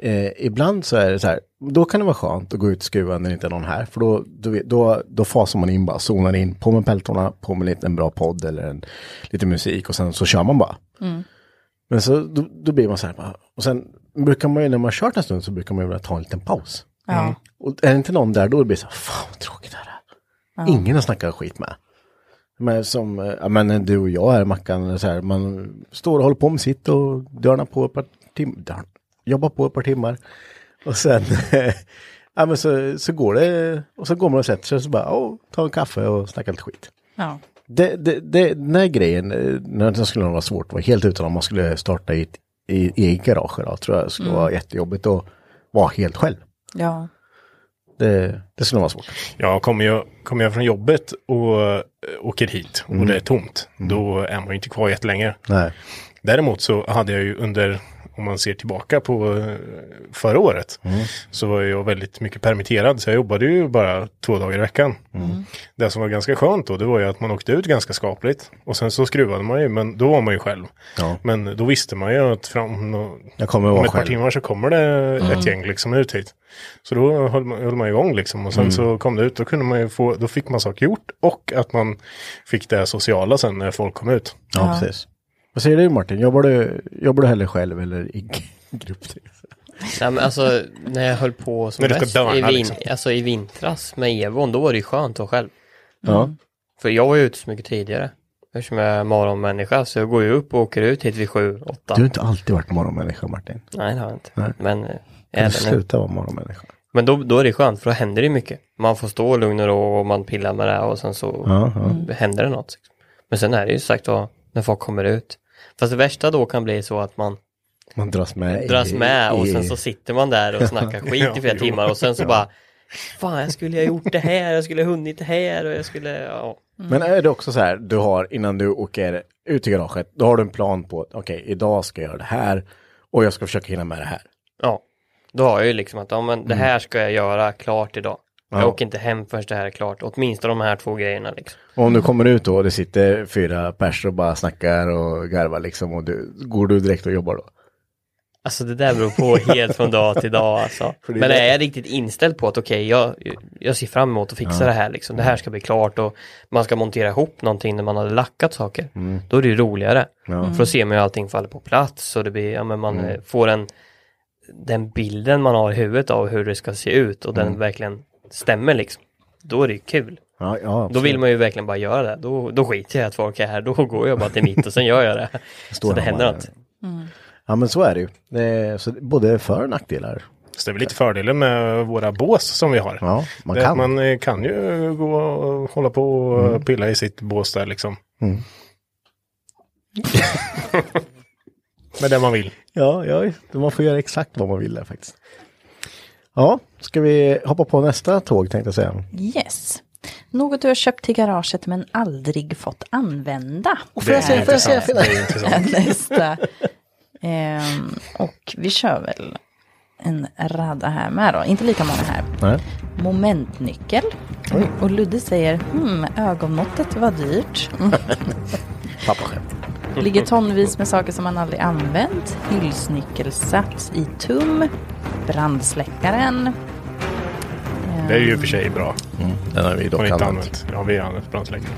eh, ibland så är det så här, då kan det vara skönt att gå ut och skruva när det inte är någon här. För då, då, då, då fasar man in bara, zonar in, på med peltorna, på med lite, en bra podd eller en, lite musik och sen så kör man bara. Men så då, då blir man så här, bara, och sen brukar man ju när man har kört en stund så brukar man ju vilja ta en liten paus.
Ja.
Och är det inte någon där då blir det så här, fan vad tråkigt det här är. Ingen att snacka skit med. Men som eh, ja, men du och jag här Mackan, eller så här, man står och håller på med sitt och dörnar på ett par timmar. Jobbar på ett par timmar. Och sen [laughs] ja, men så, så går det, och så går man och sätter sig och så bara, åh, ta en kaffe och snacka lite skit.
Ja.
Det, det, det, den här grejen, eh, när det skulle nog vara svårt, var helt utan om man skulle starta i ett i, eget garage. Då, tror jag det skulle vara jättejobbigt att vara helt själv.
ja.
Det, det skulle nog vara svårt.
Ja, kommer jag, kommer jag från jobbet och eh, åker hit
Mm.
och det är tomt, då är man ju inte kvar jättelänge.
Nej.
Däremot så hade jag ju under, om man ser tillbaka på eh, förra året,
Mm.
så var jag väldigt mycket permitterad, så jag jobbade ju bara två dagar i veckan.
Mm.
Det som var ganska skönt då, det var ju att man åkte ut ganska skapligt. Och sen så skruvade man ju, men då var man ju själv.
Ja.
Men då visste man ju att fram nå-
Jag kommer att
om
vara
ett par
själv.
timmar så kommer det ett gäng liksom ut hit. Så då höll man, höll man igång liksom och sen
Mm.
så kom det ut, då kunde man ju få, då fick man saker gjort och att man fick det sociala sen när folk kom ut.
Ja, precis. Vad säger du Martin, jobbar du, jobbar du hellre själv eller i [laughs] grupp?
Nej, men alltså, när jag höll på som
När du ska
bäst i,
dörna,
vin-
liksom.
alltså, i vintras med Evon, då var det ju skönt att vara själv.
Ja.
För jag var ju ute så mycket tidigare. Eftersom jag är morgonmänniska så jag går ju upp och åker ut hit vid sju, åtta.
Du har inte alltid varit morgonmänniska Martin.
Nej, det har jag inte.
Nej.
Men, eh, jag
Kan
är
du
det nu.
sluta vara morgonmänniska?
Men då, då är det skönt, för då händer det mycket. Man får stå i lugn och ro och man pillar med det här och sen så
Ja, ja.
händer det något. liksom. Men sen är det ju sagt vad, när folk kommer ut. Fast det värsta då kan bli så att man
Man dras med. i-
dras med och
i-
sen så sitter man där och snackar skit i flera timmar och sen så bara Fan, jag skulle ha gjort det här, jag skulle ha hunnit det här och jag skulle, ja.
Mm. Men är det också så här, du har innan du åker ut i garaget, då har du en plan på, att, okej, idag ska jag göra det här och jag ska försöka hinna med det här.
ja. Då har jag ju liksom att, ja men det här ska jag göra klart idag. Jag
Ja.
åker inte hem förrän det här är klart, åtminstone de här två grejerna liksom.
Och om du kommer ut då och det sitter fyra personer och bara snackar och garvar liksom och du, går du direkt och jobbar då?
Alltså det där beror på helt från dag till dag [laughs] alltså.
För det är
Men
det-
är jag riktigt inställd på att okej, jag, jag ser fram emot att fixa det här liksom. Det här ska bli klart och man ska montera ihop någonting när man hade lackat saker. Då är det ju roligare. För då ser man ju allting faller på plats och det blir, ja men man eh, får en, den bilden man har i huvudet av hur det ska se ut och den verkligen stämmer liksom. Då är det ju kul.
Ja, ja
Då vill
absolut.
man ju verkligen bara göra det. Då, då skiter jag i att folk är här. Då går jag bara till mitt och sen gör jag det.
[laughs]
Så det
han
händer
bara-
något.
Ja men så är det ju. Det är, så det är både för och nackdelar.
Så det är väl lite fördelen med våra bås som vi har.
Ja, man
det är
kan. Mm.
att man eh, kan ju gå och hålla på och pilla i sitt bås där liksom. [laughs] med det man vill.
Ja, ja, visst. man får göra exakt vad man vill där faktiskt. Ja, ska vi hoppa på nästa tåg tänkte jag säga.
Yes. Något du har köpt till garaget men aldrig fått använda.
Får jag säga, får jag säga,
Det är intressant.
nästa. Ehm, och vi kör väl en radda här med då. Inte lika många här.
Nej.
Momentnyckel. Och Ludde säger, hmm, ögonmåttet var dyrt.
Pappa skämt.
Ligger tonvis med saker som man aldrig använt. Hylsnyckelsats i tum. Brandsläckaren.
Det är ju i och för sig bra.
Den har vi dock
Har ni inte
använt.
använt? Ja, vi har använt brandsläckare.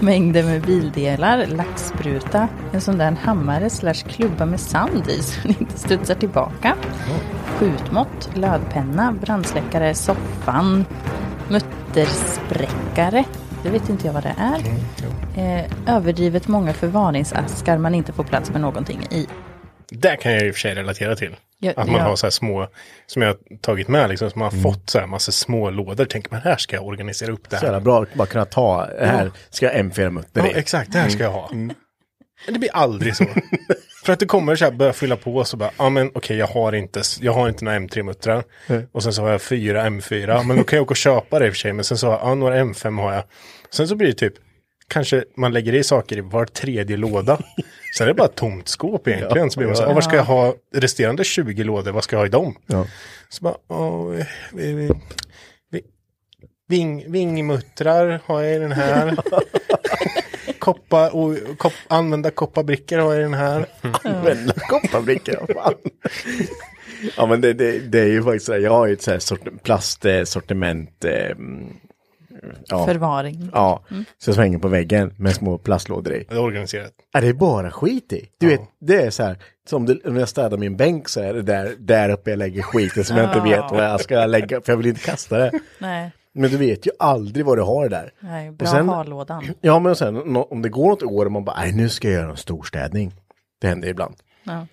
Mängder med bildelar, laxspruta, en sån där hammare slash klubba med sand i så den inte studsar tillbaka. Skjutmått, lödpenna, brandsläckare, soffan, mutterspräckare. Det vet inte jag vad det är. Eh, överdrivet många förvaringsaskar man inte får plats med någonting i.
Det kan jag i och för sig relatera till.
Ja,
att man
ja.
har så här små, som jag har tagit med liksom, som man har
Mm.
fått så här massa små lådor. Tänker man här ska jag organisera upp det
Så jävla
här.
bra att bara kunna ta, här ska jag M4 mutter
Ja,
i.
exakt, det Mm. här ska jag ha. Men Det blir aldrig [laughs] så. För att du kommer så här, börja fylla på och så bara, ja men okej jag har inte, jag har inte några M3-muttrar. Och sen så har jag fyra M4, Ja, men då kan jag åka och köpa det i och för sig. Men sen så har jag, ja några M5 har jag. Sen så blir det typ, kanske man lägger i saker i var tredje [laughs] låda. Sen är det bara ett tomt skåp egentligen. Så blir man så här, ja, var ska jag ha resterande 20 lådor, vad ska jag ha i dem?
Ja.
Så bara, ja, vi, vi, vi, Ving, vingmuttrar har jag i den [laughs] här. Koppa, och, kopp, använda kopparbrickor har jag i den här.
[laughs] Använda kopparbrickor, vad fan. Ja men det, det, det är ju faktiskt så här, jag har ju ett så här sort, plastsortiment. Eh, mm, ja,
Förvaring.
ja så jag svänger på väggen med små plastlådor i.
Det är organiserat.
Ja, det är bara skit i. Du vet, det är så här, som det, när jag städar min bänk så är det där, där uppe jag lägger skiten som jag inte vet vad jag ska lägga, för jag vill inte kasta det.
Nej,
Men du vet ju aldrig vad du har där.
nej
Och
bra
sen-
harlådan.
Ja, men sen nå- om det går något år och man bara, nej nu ska jag göra en storstädning. Det händer ibland.
Ja.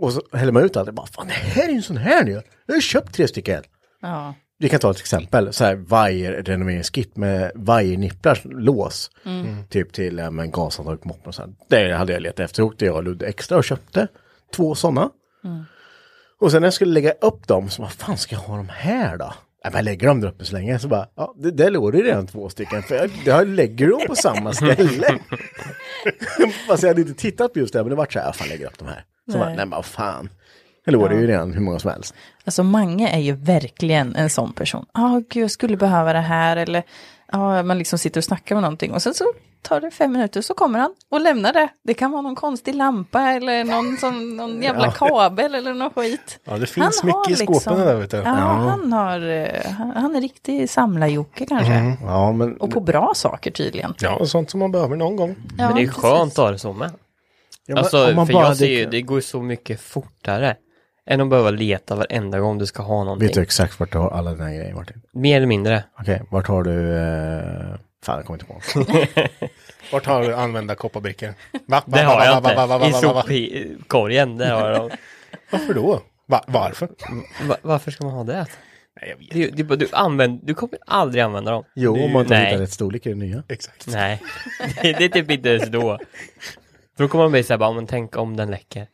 Och så häller man ut allt och bara, fan det här är ju en sån här nu. Jag har ju köpt tre stycken.
Ja.
Vi kan ta ett exempel, så här vajerrenoveringskit med vajernipplars lås.
Mm.
Typ till ja, men gashandtag och moppen och så här. Det hade jag letat efter, åkte jag och Ludde extra och köpte två sådana. Och sen när jag skulle lägga upp dem, så vad fan ska jag ha dem här då? Ja, men jag lägger dem där uppe så länge, så bara, ja, det, där låg det ju redan två stycken, för jag, jag lägger dem på samma ställe.
[laughs]
Fast jag hade inte tittat på just det, här, men det vart så här, jag fan lägger upp de här. Så bara, nej men vad fan. Det låg det ju redan hur många som helst.
Alltså Mange är ju verkligen en sån person. Ja, gud, jag skulle behöva det här. Eller ja, man liksom sitter och snackar med någonting. Och sen så tar det fem minuter så kommer han och lämnar det. Det kan vara någon konstig lampa eller någon, sån, någon jävla kabel eller någon skit.
Ja, det finns
Han har liksom-
mycket i skåpen där vet du.
Ja, han har, eh, han, han är riktig samlarjocke kanske.
Mm.
Ja, men
Och på bra saker tydligen.
Ja, och sånt som man behöver någon gång.
Ja,
men det är
precis.
skönt att ha det så med. alltså, för jag ser ju, det går ju så mycket fortare. Än att behöva leta varenda gång du ska ha någonting.
Vet du exakt vart du har alla dina grejer Martin?
Mer eller mindre.
Okej, vart har du... Eh... Fan, jag kommer inte ihåg.
Vart har du använda kopparbrickor? Va? Va?
Det
Va?
har jag
Va? Va? Va? Va?
inte. I
Va? Va? Va?
sopkorgen, det
[laughs]
har jag.
Varför då? Va? Varför?
Va- Varför ska man ha det?
Nej, jag vet.
Det, är- det, är bara- du, använder, du kommer aldrig använda dem.
Jo, om man inte
Nej.
hittar rätt storlek i det nya.
Exakt.
Nej, [laughs] det, det är typ inte ens då. Då kommer man bli såhär, bara, men tänk om den läcker.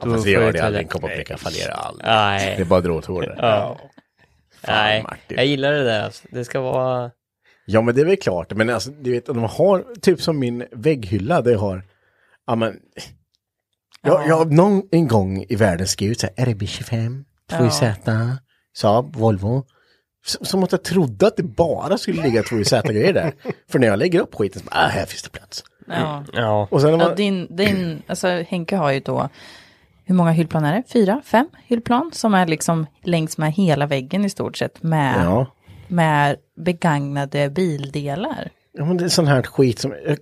Då
Fast det
får jag
gör
ta
det aldrig,
det.
en kopparbricka fallerar aldrig. Det är
Nej,
bara att dra åt hårdare.
Ja. nej.
Martin.
Jag gillar det där alltså. Det ska vara...
Ja, men det är väl klart. Men alltså, du vet, de har typ som min vägghylla, det har... Ja, men... Jag, jag, någon en gång i världen skrev ut så här, RB25, 2JZ, Saab, Volvo. S- Som att jag trodde att det bara skulle ligga 2JZ-grejer
[laughs]
där. För när jag lägger upp skiten så bara, ah, här finns det plats.
Ja.
Ja,
Och sen när
Ja,
man,
din, din, alltså Henke har ju då, hur många hyllplan är det? Fyra, fem hyllplan som är liksom längs med hela väggen i stort sett med,
Ja.
med begagnade bildelar.
Ja, men det är sån här skit som... Jag,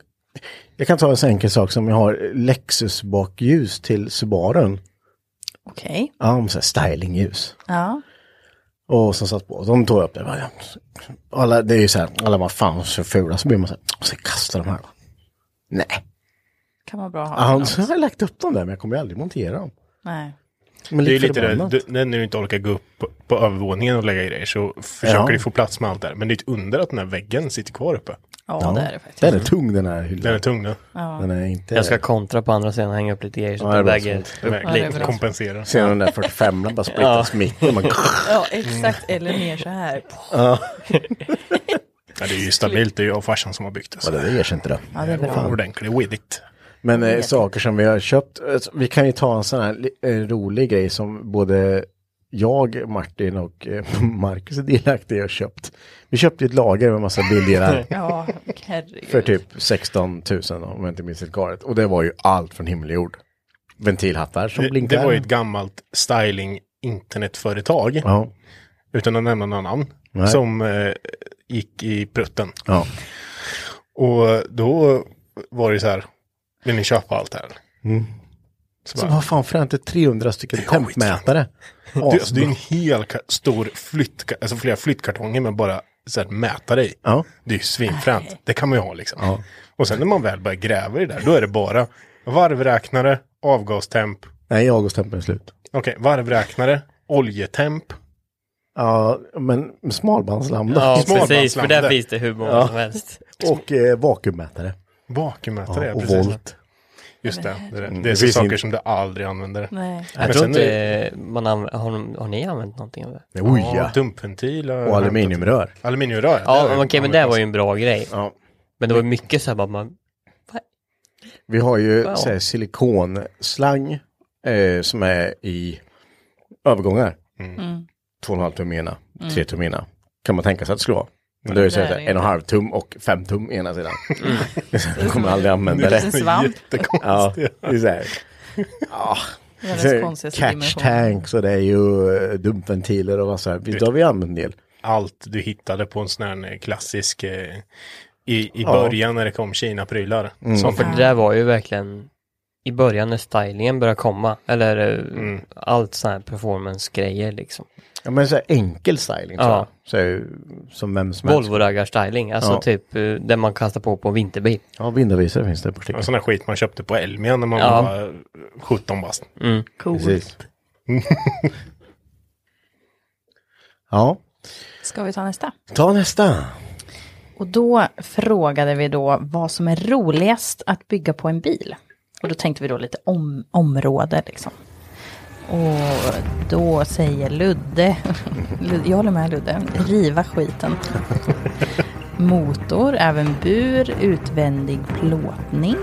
jag kan ta en sån enkel sak som jag har Lexus-bakljus till Subarun.
Okej,
Ja, om så här stylingljus.
ja.
Och som satt på. De tog jag upp det. Bara, ja. Alla, det är ju så här, alla bara fan så fula. Så blir man så här, och så kastar de här då. Nej.
Kan vara bra att ha.
Ja,
något.
så har jag lagt upp dem där, men jag kommer ju aldrig montera dem.
Nej.
Men
Det är ju lite det,
förbannat.
du- när du inte orkar gå upp på, på övervåningen och lägga grejer så försöker
Ja.
du få plats med allt där. Men det är ett under att den här väggen sitter kvar uppe.
Ja,
Ja,
det är det faktiskt.
Den är tung den här hyllan.
Den är tung nu.
Den är inte...
jag ska kontra på andra sidan, hänga upp lite grejer så
Ja,
att
det
de
var
[laughs]
väger
sånt.
upp
Verkligen.
lite.
det är bra.
Kompensera.
Sen den där 45 bara splittas mitt. Och man,
Ja, exakt. Eller mer så här.
Ja, det är ju stabilt. Det är ju jag och farsan som har byggt det.
ja,
Så
det där görs inte det.
Ja, det är bra.
ordentlig with it.
Men eh, saker som vi har köpt, eh, vi kan ju ta en sån här li- eh, rolig grej som både jag, Martin och eh, [laughs] Marcus är delaktiga i och köpt. Vi köpte ett lager med massa bildelar
Ja,
för
herregud.
typ 16 000 om jag inte minns helt galet. Och det var ju allt från himmel och jord. Ventilhattar som
Det,
blinkar.
det var ju ett gammalt styling internetföretag,
Ja,
utan att nämna någon namn,
Nej.
som eh, gick i prutten.
ja.
Och då var det ju så här, vill ni köpa allt här?
Mm.
Så
Så
bara,
vad fan fränt, det är 300 stycken tempmätare.
du, alltså, [laughs] det är en hel ka- stor flytt, alltså flera flyttkartonger med bara så här, mätare i.
Ja.
Det är ju svinfränt, det kan man ju ha liksom. Och sen när man väl börjar gräva i det där, då är det bara varvräknare, avgastemp,
Nej, augusttempen är slut.
okej, varvräknare, oljetemp,
Ja, men smalbandslampa [laughs]
Ja,
Smalbandslampor.
precis. För där finns det hur många som helst.
och eh, vakuummätare. Ja,
vakuummätare, ja,
och
precis.
volt. Mm.
Just det, det, är- det är
det
så
finns
saker
in-
som du aldrig använder.
Nej.
Jag
Men
tror
sen
inte
är
man anv- har, de- har ni använt någonting av det?
Oj,
Ja,
ja.
dumpventil har jag
Och
hämtat.
aluminiumrör.
Aluminiumrör.
Ja,
har jag
men okej, men det
använt
var ju en bra grej.
Ja.
Men det var ju mycket så här bara, man,
Vi har ju
Wow.
så här, silikonslang eh, som är i
Mm.
övergångar. Två och en halv tum ena, tre tum ena. Kan man tänka sig att det skulle vara. Då är Mm. det så
Nej,
här,
det är
en och en halv tum och fem tum ena [laughs] sidan. Du kommer aldrig använda
En
det. [laughs]
svamp.
Ja, det är så här. Ja.
Världens
Så här,
konstigaste
Catch
dimension.
tanks och det är ju eh, dumpventiler och vad så här. Då har vi använt en del.
alltså, Allt du hittade på en sån här eh, klassisk eh, i, i början när det kom Kina-prylar.
Mm.
Som
För det där var ju verkligen i början när stylingen började komma. Eller eh, allt sån här performance-grejer liksom.
Ja men så här enkel styling. Så här.
Ja.
Så här, som vem som helst.
Volvo-raggar-styling, alltså
Ja.
typ eh, det man kastar på på en vinterbil.
Ja, vindarvisare finns det på
Ja,
stycken.
sån här skit man köpte på Elmia när man
Ja.
var eh, 17 bast.
Mm.
Cool.
Precis. ja,
Ska vi ta nästa?
ta nästa.
Och då frågade vi då vad som är roligast att bygga på en bil. Och då tänkte vi då lite om, område liksom. Och då säger Ludde, [laughs] Lud- jag håller med Ludde, riva skiten. Motor, även bur, utvändig plåtning.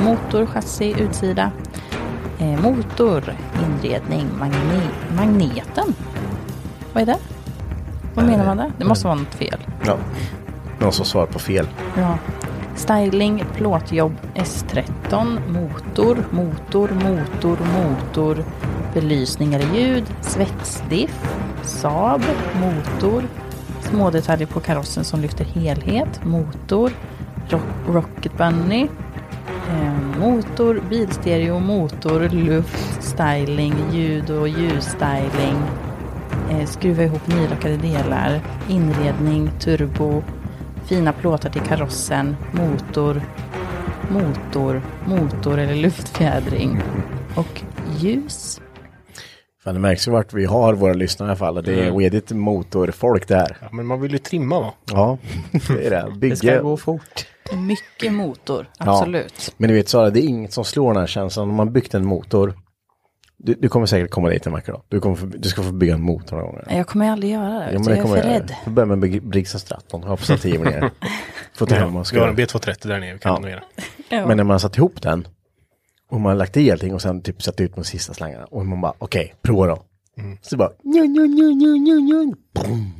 Motor, chassi, utsida. Eh, motor, inredning, magne, magneten. Vad är det? Vad menar man där? Det måste vara något fel.
Ja. Någon som svarar på fel.
Ja. Styling, plåtjobb, S13, motor, motor, motor, motor, belysning eller ljud, svetsdiff, Saab, motor, små detaljer på karossen som lyfter helhet, motor, rock, Rocket Bunny, eh, motor, bilstereo, motor, luft, styling, ljud och ljusstyling, eh, skruva ihop nylackade delar, inredning, turbo, fina plåtar till karossen, motor, motor, motor eller luftfjädring och ljus.
Fan, det märks ju vart vi har våra lyssnare i alla fall. Det är oedigt motorfolk det här.
Ja, men man vill ju trimma va?
Ja, det är [laughs] det.
Det ska
Bygge.
gå fort.
Mycket motor, absolut.
Men du vet Sara, det är inget som slår den här känslan. Om man byggt en motor. Du, du kommer säkert komma dit en vacker dag. Du, kommer få, du ska få bygga en motor någon gång.
Nej, Jag kommer aldrig göra det,
Ja, men
utan jag är
kommer
för
jag göra.
rädd.
Får börja med Brig- Briggs Stratton. Ha på stativen [laughs] ner. Få ta hem och
Vi har
skruva.
en B230 där nere vi kan
Ja.
renovera.
Men när man satt ihop den och man lagt i allting och sen typ satt ut de sista slangarna och man bara okej, prova då. Så bara nju, nju, nju, nju, nju, nju, boom.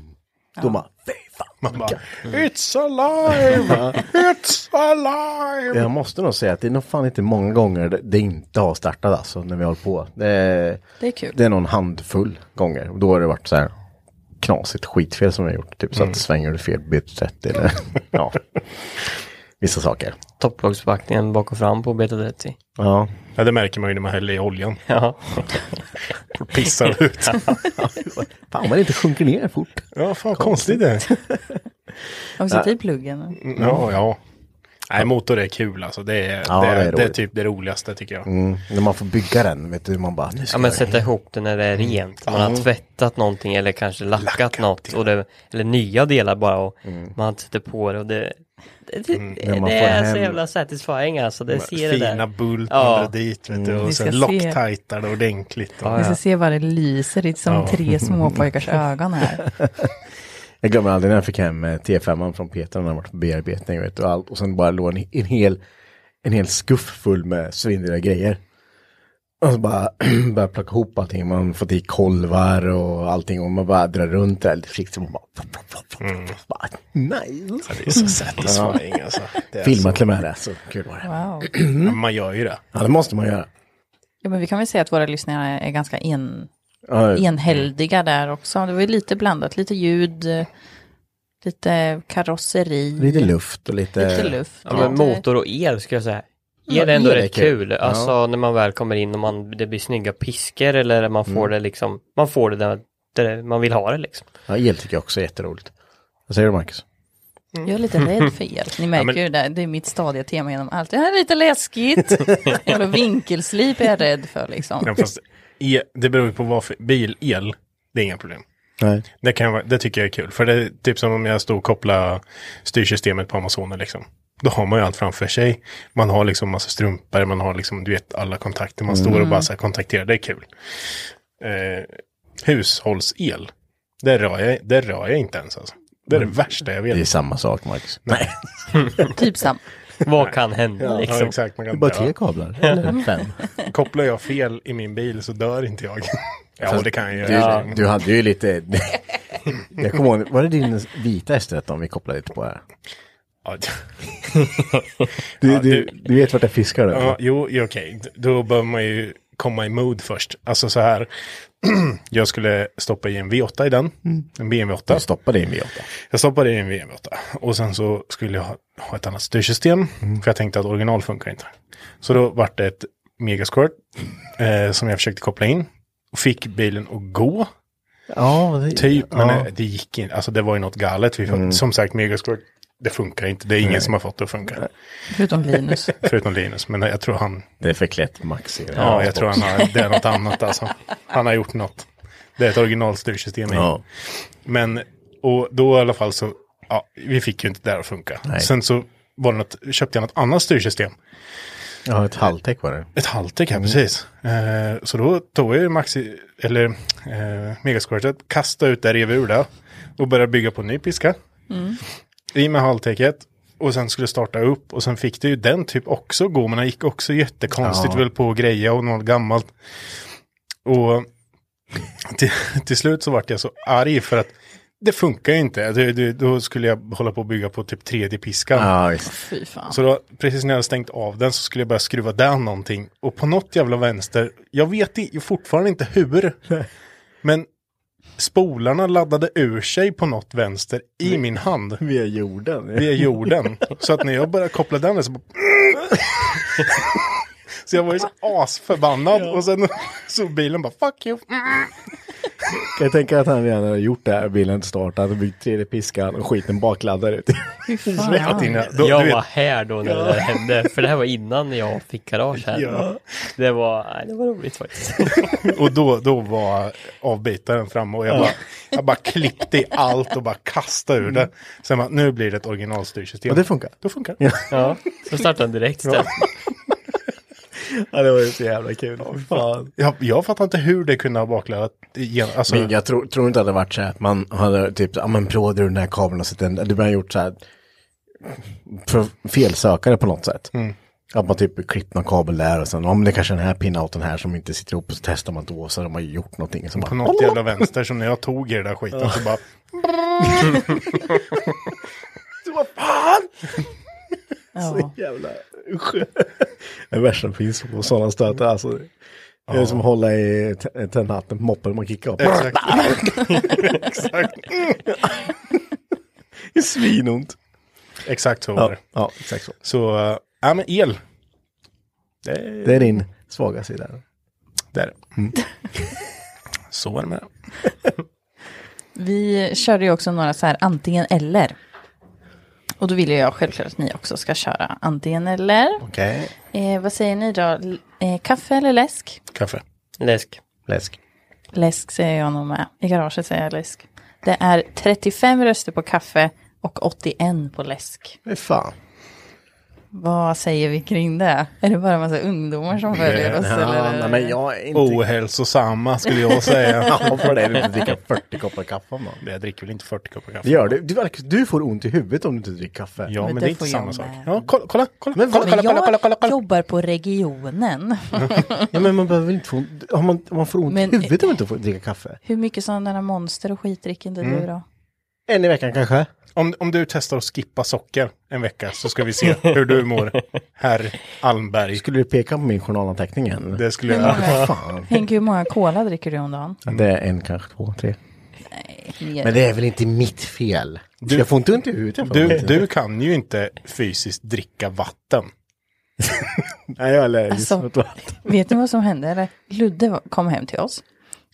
Då bara fy fan.
Man bara,
Mm.
It's alive! It's alive!
Jag måste nog säga att det är nog fan inte många gånger det- det inte har startat alltså när vi har hållit på. Det är,
Det är kul.
det är någon handfull gånger och då har det varit så här knasigt skitfel som jag har gjort. Typ så att svänger du fel byter rätt [laughs] eller ja. Vissa saker.
Topplocksbackningen bak och fram på BT30.
Ja,
Ja, det märker man ju när man häller i oljan.
Ja,
Pissar
[laughs]
ut.
fan man inte sjunker ner fort.
Ja, fan konstigt det.
Har vi suttit i typ pluggen?
Ja, ja. Nej, motor är kul alltså. Det är,
Mm. Ja,
det är,
det är
det är,
roligt. Mm.
typ det roligaste tycker jag.
När man får bygga den, vet du, man bara nu ska
ja men
jag-
sätta ihop det när det är rent. Man har tvättat någonting eller kanske lackat, något. Och det, eller nya delar bara och man sätter på det och det... Det, det,
Mm. man
det
får
är så
hem-
jävla satisfying alltså. Det ser det
Fina
där.
bult
Ja.
man drar dit vet du,
Mm.
och
Vi ska
sen
se.
locktajtar det ordentligt. Och,
Vi ska se vad det lyser i som
Ja.
[laughs]
tre småpojkars ögon här.
Jag glömmer aldrig när jag fick hem eh, T5 från Peter när han varit på bearbetning vet, du, och, allt, och sen bara låg en, en, hel, en hel skuff full med svindliga grejer. Och så bara [clears throat] började plocka ihop allting, man fått i kolvar och allting och man bara drar runt det lite försiktigt och man bara... [laughs] bara nice!
Alltså, det är så satisfying alltså. Det är
Filma till och med det, så kul var det.
Wow.
Så,
Mm.
Ja, man gör ju det.
Ja, det måste man göra.
Ja, men vi kan väl säga att våra lyssnare är ganska en,
Ja,
enhälliga där också. Det var ju lite blandat, lite ljud, eh, lite karosseri,
lite luft och lite...
lite luft.
Ja, men
lite-
motor och el skulle jag säga.
Ja,
El är ändå
el är
rätt
kul.
kul. Alltså när man väl kommer in och man, det blir snygga pisker eller man får
Mm.
det liksom, man får det där, där man vill ha det liksom.
Ja, el tycker jag också är jätteroligt. Vad säger du Marcus?
Jag är lite rädd för er. Ni märker
men-
ju det, det är mitt stadiga tema genom allt. Det här är lite läskigt. Jävla vinkelslip är jag rädd för liksom.
Ja, fast el, det beror ju på vad för bil, el, det är inga problem.
Nej.
Det, kan, vara- det tycker jag är kul. För det är typ som om jag stod och kopplade styrsystemet på Amazonen liksom. Då har man ju allt framför sig. Man har liksom massa strumpor, man har liksom, du vet, alla kontakter. Man står och
Mm.
bara så här kontakterar, det är kul. Eh, hushållsel, det rör, jag, det rör jag inte ens alltså. Det är det värsta jag vet.
Mm. Det är samma sak Marcus. Nej,
Typ sam.
[laughs]
Vad kan hända
Ja,
liksom?
exakt, man
det är
kan
bara
dö.
tre kablar. Eller fem.
Kopplar jag [laughs] fel i min bil så dör inte jag. Ja,
Fast
det kan jag göra.
Du, [laughs] du hade ju lite... [laughs] jag kommer ihåg, var det din vita S13 vi kopplade lite på här?
Ja,
Du,
Ja,
du,
det-
du vet vart jag fiskar då?
Ja, jo, ja, okej. D- Då bör man ju komma i mood först. Alltså så här. [clears throat] jag skulle stoppa i en V8 i den. En BMW 8.
Jag stoppade i en V8.
Jag stoppade i en BMW 8. Och sen så skulle jag ha, ha ett annat styrsystem. För jag tänkte att original funkar inte. Så då vart det ett megasquirt. Eh, som jag försökte koppla in. Fick bilen att gå.
Ja, det,
Typ, men
ja.
eh, det gick inte. Alltså det var ju något galet. Vi, fick- Som sagt, megasquirt. Det funkar inte. Det är ingen som har fått det att funka.
Förutom Linus.
Förutom Linus. Men jag tror han
det är förklätt Maxi.
Ja, jag tror han har, det är något annat alltså. Han har gjort något. Det är ett originalstyrsystem. i.
Ja.
Men, och då i alla fall så, ja, vi fick ju inte det här att funka.
Nej.
Sen så var det något, köpte jag något annat styrsystem.
ja, ett halvtäck var det.
Ett halvtäck här, precis. Eh, så då tog jag ju maxi, eller eh, megasquirtet, kastade ut det, rev ur det och började bygga på en ny piska. I med halvtäcket. Och sen skulle starta upp och sen fick det ju den typ också gå, men den gick också jättekonstigt
Ja.
väl på grejer och något gammalt. Och till, till slut så vart jag så arg för att det funkar ju inte. Det, det, då skulle jag hålla på att bygga på typ tredje piskan.
Ja, visst.
Fy fan.
Så då, precis när jag hade stängt av den så skulle jag börja skruva den någonting. Och på något jävla vänster, jag vet i- ju fortfarande inte
[laughs]
hur. Men spolarna laddade ur sig på något vänster i
Mm.
min hand.
Via jorden.
Via jorden. Så att när jag började koppla den där så bara... [laughs] Så jag var ju så asförbannad. Och sen [laughs] så bilen bara fuck you.
[laughs]
Mm.
Jag tänker att han redan har gjort det här, bilen inte startat, och byggt tredje piskan och skiten bakladdar ut.
Fy
Att
fan.
innan- då- du
jag
vet-
var här då när det där hände, för det här var innan jag fick garage här.
Ja.
Det, var, nej, det var
[laughs]
roligt faktiskt.
Och då, då var avbitaren framme och jag bara, jag bara klippte i allt och bara kastade ur det. Sen bara, nu blir det ett originalstyrsystem.
Och Mm. det funkar.
Då funkar det.
Ja.
Ja, så startade den direkt istället.
[laughs] ja, det var ju så jävla kul. Åh, fan.
Jag, jag fattar inte hur det kunde ha bakladdat. igen. Alltså,
Men jag tror, tror inte att det varit så här att man hade typ, ja men provar du den här kabeln och sätter den, du har gjort så här för- felsökare på något sätt.
Mm.
Att man typ klippt någon kabel där och sen, om det kanske är den här pinouten här som inte sitter ihop och så testar man då så har man gjort någonting. Så
på
bara, [laughs]
något jävla vänster som när jag tog i den där skiten så bara...
Ja.
Alltså, jävla usch. [laughs] Det värsta som finns på sådana
Mm.
stötar alltså. Det är som att hålla i t- tändhatten på moppen man kickar upp. [laughs]
Exakt. [laughs] exakt,
Det är Svinont.
exakt så var
Ja,
det.
ja, exakt så.
Så, äh, ja men el. Det,
Det är din svaga sida.
det är det. Mm.
[laughs]
Så är det med det.
Vi körde ju också några så här antingen eller. Och då vill ju jag självklart att ni också ska köra antingen eller.
Okej.
Eh, vad säger ni då? L- Eh, kaffe eller läsk?
Kaffe.
Läsk.
Läsk.
Läsk säger jag nog med. I garaget säger jag läsk. Det är 35 röster på kaffe och 81 på läsk.
Men fan.
Vad säger vi kring det? Är det bara en massa ungdomar som följer oss?
Ja,
eller?
nej, men jag är inte...
Ohälsosamma skulle jag säga.
[laughs] Ja, för det vill inte dricka 40 koppar kaffe om dagen.
Jag dricker väl inte 40 koppar kaffe.
Det gör du. Du, Alex, du får ont i huvudet om du inte dricker kaffe.
Ja, men,
Men
det är
det
inte
får
samma
jag
sak.
med.
Ja, kolla, kolla, kolla,
Men
kolla,
vad-
kolla, kolla, kolla, kolla,
Jag
kolla.
jobbar på regionen.
Ja, men man behöver väl inte få ont... Om man, om man får ont
Men-
i huvudet om man inte får dricker kaffe.
Hur mycket sådana där monster och skit dricker inte
Mm.
du då?
En i veckan kanske.
Om, om du testar att skippa socker en vecka så ska vi se hur
[laughs]
du mår, herr Almberg.
Skulle du peka på min journalanteckning än?
Det skulle jag
Ja, fan.
Henke, hur många cola dricker du om dagen?
Det är en, kanske två, tre.
Mer.
Men det är väl inte mitt fel?
Du-
jag får inte ont i huvudet. för
du,
det.
du kan ju inte fysiskt dricka vatten.
Nej, jag är allergisk
Alltså.
mot vatten.
[laughs] Vet ni vad som hände? Eller? Ludde var- kom hem till oss.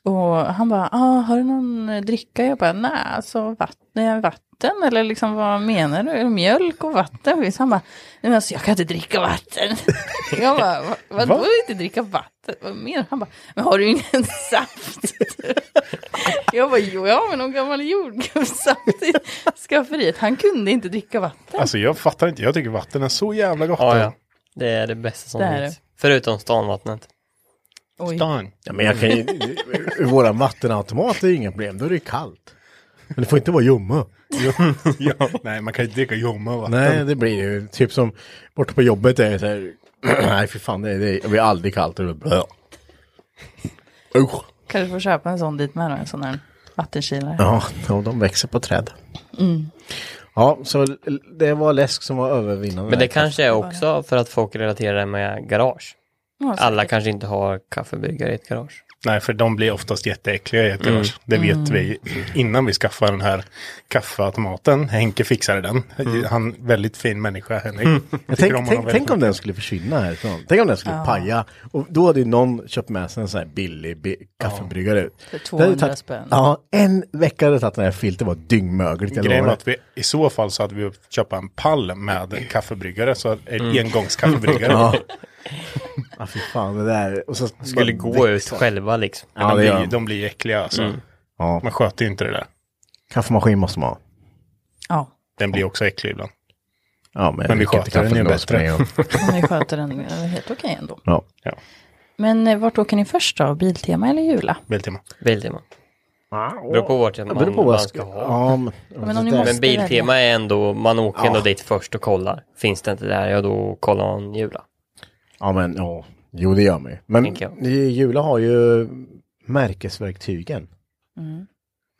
Och han bara, ah, har du någon eh, dricka? Jag bara, nej, alltså vatten, vatten eller liksom vad menar du? Är det Mjölk och vatten finns. Han bara, nej men alltså jag kan inte dricka vatten. [laughs] Jag bara, "Va- vadå
Va?
inte dricka vatten? Vad menar du? Han bara, men har du ingen [laughs] saft? Jag bara, jo, jag har någon gammal jordgubbssaft i skafferiet. Han kunde inte dricka vatten.
Alltså jag fattar inte, jag tycker vatten är så jävla gott.
Ja, ja. Det är det bästa som
Det är
finns. Förutom stanvattnet.
Oj.
[laughs]
Dan.
Ja, men jag kan ju... Våran vattenautomat är ju inga problem. Då är det ju kallt. Men det får inte vara ljumma.
Jo, ja. Nej, man kan ju inte dricka ljumma vatten.
Nej, det blir ju typ som borta på jobbet är det [clears throat]
[clears throat]
så här. Nej, för fan, det, det blir aldrig kallt. Det blir, Usch.
Kanske får köpa en sån dit med då, en sån här vattenkylare.
Ja, och de växer på träd.
Mm.
Ja, så l- det var läsk som var övervinnande.
Men det kanske är också för att folk relaterar det med garage.
Ja, säkert.
Alla kanske inte har kaffebryggare i ett garage.
Nej, för de blir oftast jätteäckliga i
Mm.
ett garage. Det vet vi innan vi skaffade den här kaffeautomaten. Henke fixade den. Han är väldigt fin människa, Henrik.
Jag
Tycker
Mm. tänk,
om honom
tänk,
väldigt
tänk om
mycket.
den skulle försvinna härifrån. Tänk om den skulle paja. Och då hade ju någon köpt med sig en sån här billig bi- kaffebryggare.
För
Det hade
200
tagit-
spänn.
Ja, en vecka hade det tagit när det här filtret var dyngmögligt. eller
Grejen
vad
var
det
att vi, i så fall så hade vi behövt köpa en pall med kaffebryggare. Så en
[laughs]
Mm.
engångskaffebryggare.
var. Ja, fy fan, det där. Och så
Skulle
bara
gå ut
växa.
själva liksom.
Ja,
de,
det gör
blir,
de.
de blir ju äckliga alltså.
Mm.
Ja,
Man sköter ju inte det där.
kaffemaskin måste man ha.
Ja,
Den blir också äcklig ibland.
Ja, men,
vi
mycket
sköter
kaffe
den ju
ändå,
bättre.
spelar
[laughs]
ingen roll.
men vi sköter den eh, helt okej ändå.
Ja.
Ja,
Men eh, vart åker ni först då? Biltema eller Jula?
Biltema.
Biltema. Beror på vart man,
Det Ah, beror på vad
man
jag
ska
ska
ha.
Ja, men,
men om ni
det där-
måste-
Men Biltema är ändå, man åker ändå dit först och kollar. Finns det inte där, ja då kollar man Jula.
Ja, men ja. Jo, det gör man ju. Men
Tänker jag.
ni- Jula har ju märkesverktygen.
Mm.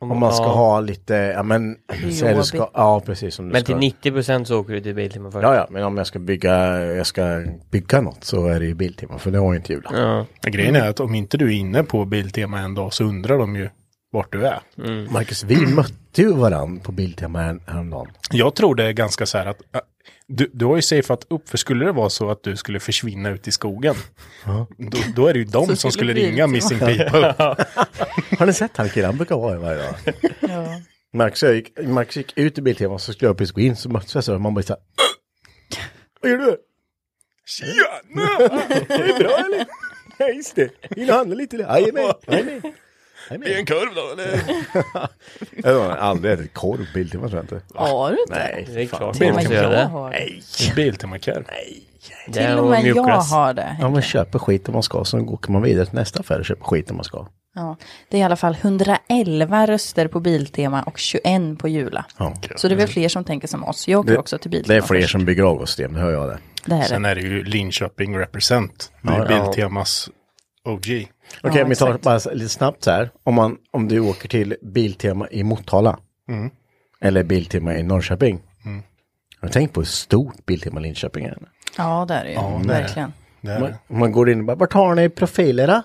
Om man ska
ja.
ha lite, ja men. så är det ska, ja, precis. Som du
Men
ska,
till 90% så åker du till Biltema först.
Ja, ja, men om jag ska bygga, jag ska bygga något så är det ju Biltema, för det har ju inte Jula.
Ja.
Grejen
Mm.
är att om inte du är inne på Biltema en dag så undrar de ju vart du är.
Mm.
Marcus, vi mötte ju varandra på Biltema här- häromdagen.
Jag tror det är ganska så här att äh, du, du har ju safeat upp, för skulle det vara så att du skulle försvinna ut i skogen, då, då är det ju de som skulle
skulle bli
ringa
lite-
[laughs]
Missing People.
Har ni sett han killen? Han brukar vara här varje dag.
Ja.
Marcus, jag gick, Marcus gick ut i Biltema, så skulle jag precis gå in, så möttes jag så här, man bara så här, "Äh, Vad gör du?
Tjena!
[laughs] Är det bra eller? [laughs] Ja, just det. Vill du handla lite? eller? Jajamän, jajamän.
Är det en kurv då eller?
[laughs] Jag har aldrig ätit korv på Biltema tror jag inte.
Har du inte?
Det är
Nej,
klart
Till
man
och
måste
med
göra
jag
det.
har det.
Biltema-kurv.
Det är
Till och med jag
mjukglass.
har det.
Ja, man köper skit om man ska, så åker man vidare till nästa affär och köper skit om man ska.
Ja, det är i alla fall 111 röster på Biltema och 21 på Jula. Så det är väl fler som tänker som oss. Jag åker också till Biltema.
Det är fler
först.
som bygger avgassystem, det hör jag det.
Det här är
Sen
det.
är det ju Linköping Represent, det är Biltemas OG.
Okej,
Ja,
men vi tar
exakt.
bara så- lite snabbt så här. Om, man, om du åker till Biltema i Motala. Mm. Eller Biltema i Norrköping. Har du tänkt på hur stort Biltema Linköping är?
Ja, det är det ju.
det är det.
Verkligen.
Det är
Man,
det.
man går in och bara, vart har ni profiler då? Nej,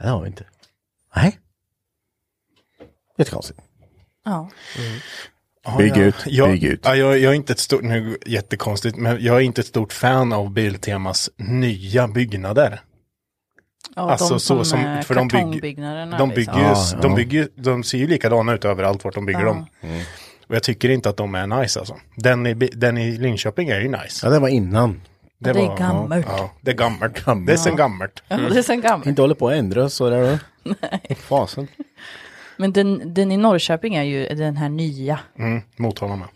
det har vi inte. Nej. Jättekonstigt.
Ja.
Ja,
Bygg
ja.
ut,
jag,
bygg ut.
Ja, jag, jag är inte ett stort, nu jättekonstigt, men jag är inte ett stort fan av Biltemas nya byggnader.
ja
Alltså,
de som,
så som-
eh,
för de bygg-
kartongbyggnaderna.
De
liksom.
bygger, ju,
Ja, ja. Mm.
de bygger ju, de ser ju likadana ut överallt vart de bygger
Ja.
dem. Och jag tycker inte att de är nice alltså. Den i, Bi- den i Linköping är ju nice.
Ja, det var innan.
Det är gammalt.
Ja, det är gammalt. Det är sen gammalt.
Ja, [laughs] det är sen gammalt.
Inte håller på att ändra så där då. Nej. Fasen.
Men den, den i Norrköping är ju den här nya
Mm, Motala med.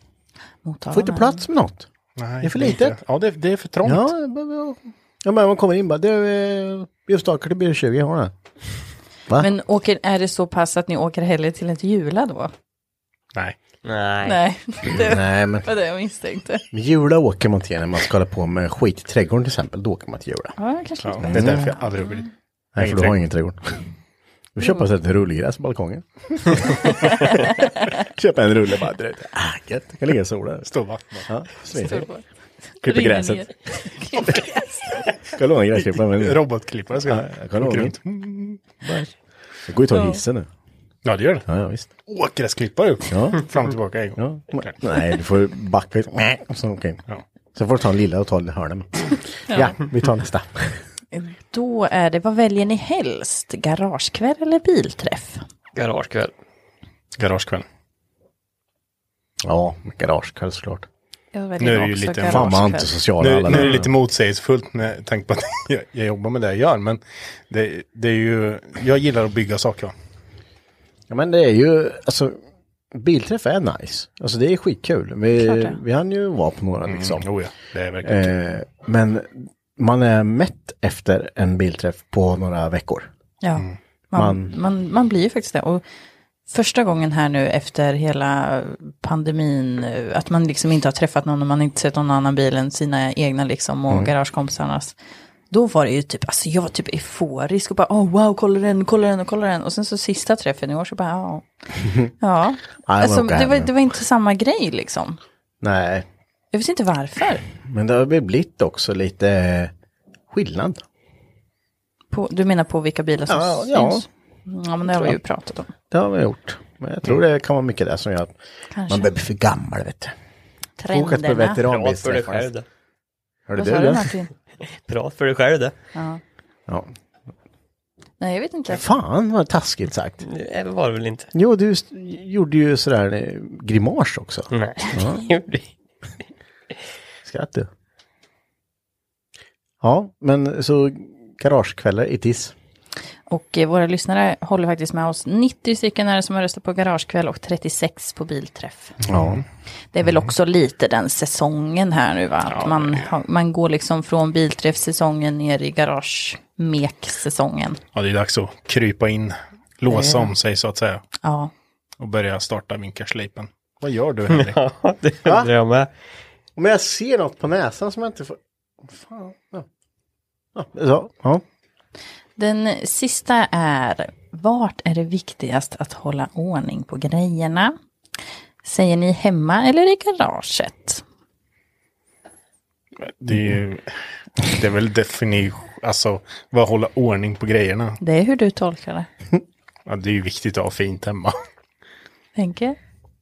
Motala.
Får inte
men-
plats med något.
Nej,
Det är för
inte.
litet.
Ja, det, det är för trångt.
Ja, det behöver jag- ja, men man kommer in bara, du, eh, ljusstakar till B20, har den? Va?
Men åker, är det så pass att ni åker hellre till ett Jula då?
Nej.
Nej.
Nej, det
Nej, men
var det jag misstänkte.
Men Jula åker man till när man ska hålla på med skit i trädgården till exempel. Då åker man till Jula.
Ja, kanske
Ja,
lite.
det är därför jag aldrig vill.
Nej, för
Ingen
du har ingen trädgård. Då köper man sig ett rullgräs på
[laughs]
balkongen. Köpa en rulle bara. direkt. Ah, gött. Jag kan ligga i solen.
Stå och vattna.
Ja, smidigt.
Ringer
Klipper gräset.
ner. Klipper gräset.
Ska jag låna gräsklipparen? Men det
Robotklippare ska
Ja,
jag
jag kan
Åker
låna
runt.
det går ju att ta hissen nu.
Ja, det gör det.
Ja, ja visst.
Åh, gräsklippare upp.
Ja.
[laughs] Fram och tillbaka en gång.
Ja. Nej, du får backa ut. Och Sen åka in.
Ja.
Sen får du ta den lilla och ta den hörnen. Ja, vi tar
[laughs]
nästa.
Då är det, vad väljer ni helst? Garagekväll eller bilträff?
Garagekväll.
Garagekväll.
Ja, garagekväll såklart.
Jag
Nu är det ju lite-
Fan, man är inte social.
Nu,
alla
nu är det
där.
lite motsägelsefullt med tanke på att [laughs] jag, jag jobbar med det jag gör, men det, det är ju, jag gillar att bygga saker. Va?
Ja men det är ju, alltså bilträff är nice. Alltså det är skitkul.
Klart
Vi,
det.
vi hann ju vara på några liksom.
Jo, ja, det är verkligen.
Eh, men man är mätt efter en bilträff på några veckor.
Ja, man, man, man blir ju faktiskt det. Och första gången här nu efter hela pandemin, eh, att man liksom inte har träffat någon och man har inte sett någon annan bil än sina egna liksom och garagekompisarnas. Då var det ju typ, alltså jag var typ euforisk och bara oh, wow, kolla den, kolla den och kolla den. Och sen så sista träffen i år så bara oh. ja.
var
Alltså,
nog
det, var,
galen.
det var inte samma grej liksom.
Nej,
Jag vet inte varför.
men det har väl blivit också lite eh, skillnad.
På, du menar på vilka bilar som
Ja,
syns?
ja.
Ja. ja, men det har vi ju pratat om.
Det har vi gjort. Men jag tror det kan vara mycket det som gör att
Kanske.
man börjar bli för gammal vet du. Åkat på
Trenderna.
Prat för dig
veteranbilsträffar.
själv det.
Hörde
Vad
du
sa du
det?
Martin?
Prat för dig själv det.
Ja.
Ja.
Nej, jag vet inte.
Fan vad taskigt sagt.
Nej, Det var det väl inte.
Jo, du st- gjorde ju sådär eh, grimas också.
Nej, [laughs] det gjorde
Skratt du. Ja, men så garagekvällar i Tiss.
Och eh, våra lyssnare håller faktiskt med oss. 90 stycken är det som har röstat på Garagekväll och 36 på Bilträff.
Ja.
Det är väl också lite den säsongen här nu va? Att man, har- man går liksom från Bilträff-säsongen ner i Garage-mek-säsongen.
Ja, det är dags att krypa in, låsa om sig så att säga.
Ja.
Och börja starta vinkarslipen. Vad gör [laughs] du Henrik?
Ja, det undrar jag med.
Om jag ser något på näsan som jag inte får... Fan. Ja. Ja, ja. ja.
Den sista är, vart är det viktigast att hålla ordning på grejerna? Säger ni hemma eller i garaget?
Det är ju, det är väl definition, alltså vad hålla ordning på grejerna.
Det är hur du tolkar det.
Ja, det är ju viktigt att ha fint hemma.
Tänker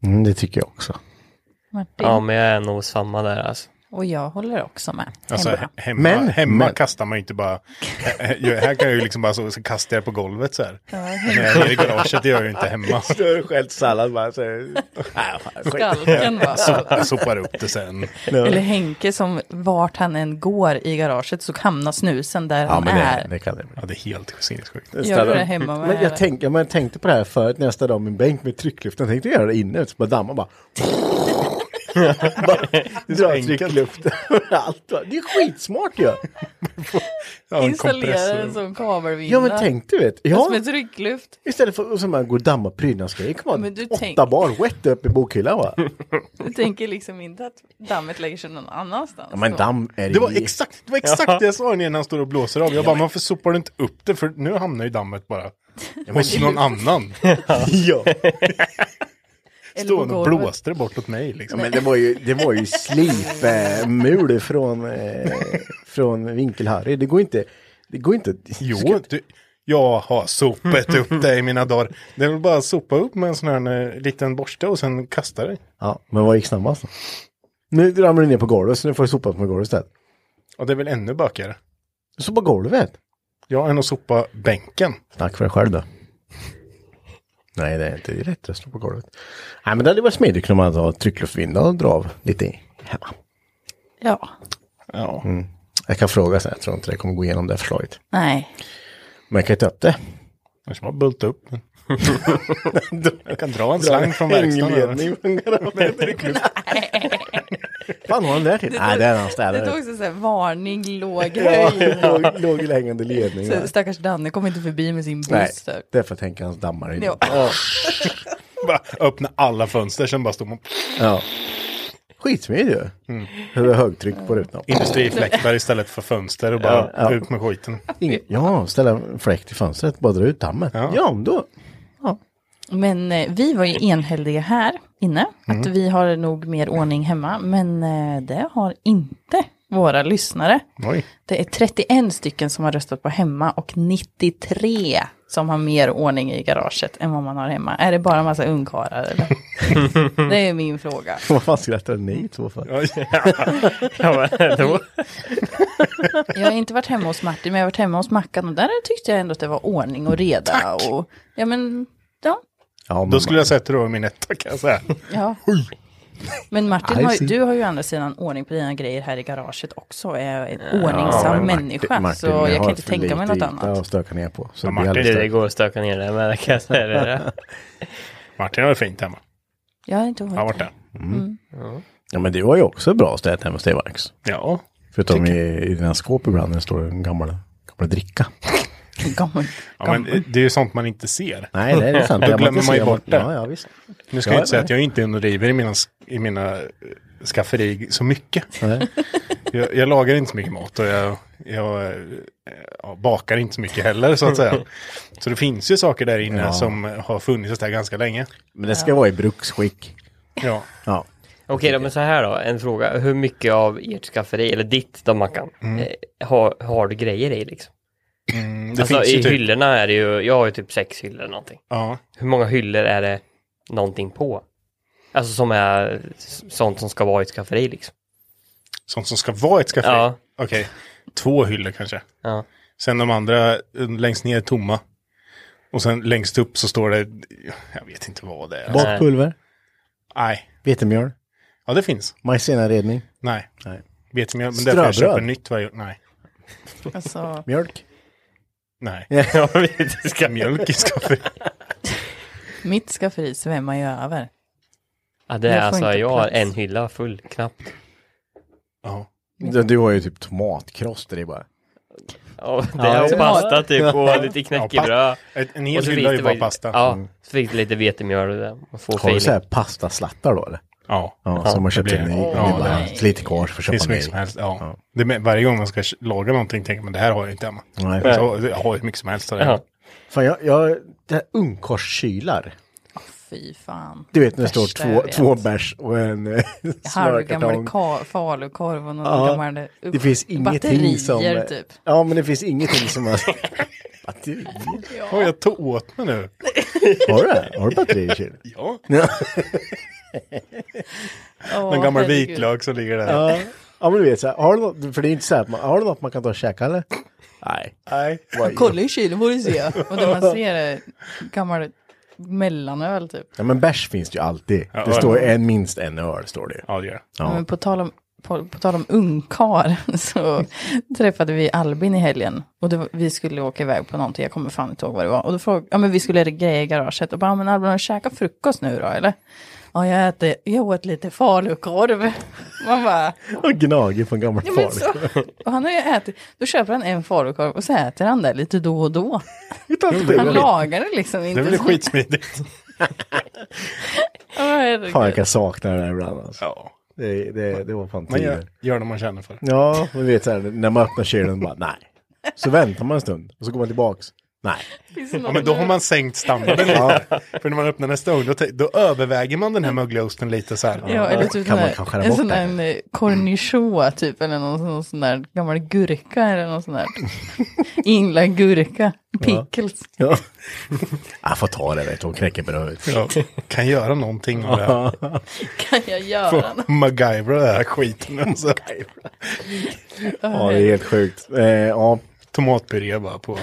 Mm, det tycker jag också.
Martin.
Ja, men jag är nog samma där alltså.
Och jag håller också med.
Alltså
hemma.
hemma,
Men-
hemma
men-
kastar man ju inte bara, [laughs] här här kan jag ju liksom bara så, så kastar jag på golvet så här.
Ja,
Men när jag är nere i garaget det gör jag ju inte
[laughs]
hemma.
Du har skällt sallad bara. Så...
Skalken va?
Jag sopar upp det sen.
[laughs] Eller Henke som vart han än går i garaget så hamnar snusen där
Ja,
han
men
är.
det, det kan det
Ja, det är helt sinnessjukt.
Gör du det hemma med
men
eller?
jag, tänkte, men jag tänkte på det här förut när jag ställde om min bänk med tryckluften. Jag tänkte göra det inne, så bara damma [laughs] bara. bara dra
enkelt.
tryckluften överallt. va. Det är skitsmart ju. Ja.
Ja, en
Installera
kompressor.
en sån kabelvinda.
ja men tänk du vet. Ja.
Som en tryckluft.
Istället för att man går och dammar prydnadsgrejer kan man
Men du
åtta
tänk-
bar wet upp i bokhyllan va?
Du tänker liksom inte att dammet lägger sig någon annanstans.
Ja, men damm är
Det var
i-
exakt det, var exakt det jag sa innan han står och blåser av. Jag bara, varför sopar du inte upp det? För nu hamnar ju dammet bara hos någon [laughs] annan.
[laughs] Ja.
Eller på
Stående och
golvet.
blåste det bortåt mig liksom.
Men det var ju, det var ju slipmul från, eh, från Vinkel-Harry. Det går inte, det går inte.
Jo, du, jag har sopat [laughs] upp det i mina dagar. Det är väl bara att sopa upp med en sån här eh, liten borste och sen kasta det.
Ja, men vad gick snabbast då? Nu ramlar du ner på golvet så nu får du sopa på golvet istället.
Och det är väl ännu bökigare.
Så på golvet?
Ja, än att sopa bänken.
Tack för dig själv då. Nej, det är inte det är rätt att slå på golvet. Nej, men det hade varit smidigt om man hade tryckluftvinda och dra av lite i hemma.
Ja.
Ja.
Mm. Jag kan fråga sen, jag tror inte det kommer gå igenom det förslaget.
Nej.
Men jag kan ju ta upp det.
Annars bara bulta upp [laughs] den. jag kan dra en slang från verkstaden. här.
[laughs]
Fan, har han där till? Nej, det är när han
Det tog
städade.
också såhär
[laughs]
varning, låg höjd.
Låg- Låg hängande ledning.
Så
där.
Stackars Danne kom inte förbi med sin
Nej,
buss. där.
det är för att tänka hans dammar. i.
Ja.
Bara öppna alla fönster, sen bara står man
Ja. Skitsmidig ju.
Mm.
Hur är högtryck på rutan?
industrifläktar istället för fönster och bara ut med skiten.
Ja, ställa en fläkt i fönstret, bara dra ut dammen. Ja, men då.
Men eh, vi var ju enhälliga här inne, att vi har nog mer ordning hemma, men eh, det har inte våra lyssnare.
Oj.
Det är 31 stycken som har röstat på hemma och 93 som har mer ordning i garaget än vad man har hemma. Är det bara en massa ungkarlar eller? det är min fråga.
Vad fan skrattar ni två för?
Ja, men då.
Jag har inte varit hemma hos Martin, men jag har varit hemma hos Mackan och där tyckte jag ändå att det var ordning och reda. Och, ja, men ja.
Ja, men
Då skulle jag säga att det var min etta kan jag säga.
Ja. Men Martin,
I
har, ju-
see.
du har ju å andra sidan ordning på dina grejer här i garaget också. och Är en ordningsam människa. så
jag har
jag kan inte
för
tänka mig
lite
något
yta
annat.
att stöka ner på. Så
Ja,
det
Martin,
blir
Det,
alldeles
det går att stöka ner det med, det kan jag säga
[laughs]
det där.
Martin har det fint hemma.
Jag har inte
Jag har
varit
varit där.
Ja, men du har ju också bra städat hemma hos dig, Max.
Ja.
Förutom i, i dina skåp ibland, när det står en gammal, gammal
[laughs]
dricka.
gammal.
ja men eh, det är ju sånt man inte ser.
Nej, det är sant.
Då
Jag
glömmer
måste
man ju
se-
bort [laughs] det.
Ja, ja, visst.
Nu ska
Ja,
jag inte säga
nej.
att jag inte är inne och river i mina, i mina eh, skafferi så mycket.
Nej.
jag, jag lagar inte så mycket mat och jag, jag, eh, ja, bakar inte så mycket heller så att säga. Så det finns ju saker där inne som har funnits där ganska länge.
Men det ska vara i bruksskick.
Ja.
Ja.
Okej då, men så här då, en fråga. Hur mycket av ert skafferi, eller ditt då Mackan,
Mm.
eh, har, har du grejer i liksom?
Det
alltså
finns ju
i
typ,
hyllorna är det ju, jag har ju typ sex hyllor eller någonting.
Ja.
Hur många hyllor är det någonting på? Alltså som är s- sånt som ska vara i ett skafferi [laughs] liksom.
Sånt som ska vara ett skafferi.
Ja.
Okej. Två hyllor kanske.
Ja.
Sen de andra eh, längst ner är tomma. Och sen längst upp så står det, jag vet inte vad det är.
Bakpulver,
Nej.
vetemjöl,
Ja, det finns.
majsennaredning,
Nej.
Nej.
Vet ni, men därför
Ströbröd.
jag köper nytt varje Nej.
Alltså,
mjölk.
Nej.
Jag vet inte, ska-
Mjölk i skafferi.
mitt skafferi svämmar ju över.
ja, det är
Jag får
alltså,
inte
jag har
plats.
en hylla full knappt.
Ja.
Du, du har ju typ tomatkross där i bara.
Ja, det är och pasta typ och lite knäckebröd.
Ett- En
Och
hel
så
hylla är
finns
ju
det
bara pasta. Mm.
Ja, så fick det lite vetemjöl och det. Och få
Har du så här
feeling.
pastaslattar då eller?
Ja.
Ja, som man köpte
blir
in
det.
i.
Ja,
det är
det
bara
är
lite kvar för
Det
att
finns
köpa
hur mycket som
mer.
helst. Ja. Det är, med- varje gång man ska k- laga någonting tänker man det här har jag inte hemma.
Nej.
Men Så, jag har ju hur mycket som helst. av det.
Ja.
Fan, jag, jag, det här ungkorskylar.
Fy fan.
Du vet när det står
Värsta jag
två,
vet.
två bärs och en eh,
Halvgammal
smörkartong.
ka- falukorv och någon
Ja,
gammal eh,
Det finns ingenting
batterier,
som... eh,
typ.
Ja, men det finns ingenting som...
[laughs]
har- batterier?
Oj, jag tog åt mig nu.
Har du det? Har du batterier i kylen?
Ja.
Åh,
Någon gammal
herregud.
vitlök som ligger där.
Ja. ja, men du vet så här, har du något, för det är inte så här, att man, har du något man kan ta och käka eller? Nej.
Nej.
Kolla i kylen får du se. Och det man ser är gammal mellanöl typ.
Ja, men bärs finns det ju alltid.
Ja,
det
ja.
står en, minst en öl, står det ju.
Ja, det gör jag.
Ja.
Men på tal om, på, på tal om ungkar [laughs] så träffade vi Albin i helgen. Och det, var- vi skulle åka iväg på någonting, jag kommer fan inte ihåg vad det var. Och då frågade, ja men vi skulle greja i garaget och bara, "Ja, men Albin har du käkat frukost nu då eller? Ja jag äter, jag åt lite falukorv. [laughs] Man bara,
Och gnager på en gammal
ja
far.
men så. Och han har ju ätit, då köper han en falukorv och så äter han det lite då och
[laughs]
då. Han lagar det liksom
Det
inte.
är väl skitsmidigt.
Ja, herregud.
Fan, jag kan sakna det där ibland alltså.
[laughs] Ja.
det, det, det var fan
Man
tider.
gör, gör det man känner för.
Ja, men du vet så här, när man öppnar kylen bara nej. Så väntar man en stund och så går man tillbaks. Nej.
Finns det
Ja,
någon
men då har
nu?
man sänkt standarden lite. För när man öppnar nästa ugn, då, te- då överväger man den här mögliga osten lite så här.
Ja, eller typ
Kan
sån
man
där-
kanske skära
en
bort
sån
det?
där en, eh, cornichon typ, eller någon, någon sån där gammal gurka eller någon
[laughs]
sån där inlagd gurka, pickles. [laughs]
[laughs] Ja. Jag får ta det vet du, hon knäcker brödet.
Ja. Kan göra någonting av det här.
Kan jag göra något?
Får MacGyvera den
[laughs]
här skiten. Alltså.
Ja, det är helt sjukt. Eh, ja.
Tomatpuré bara på,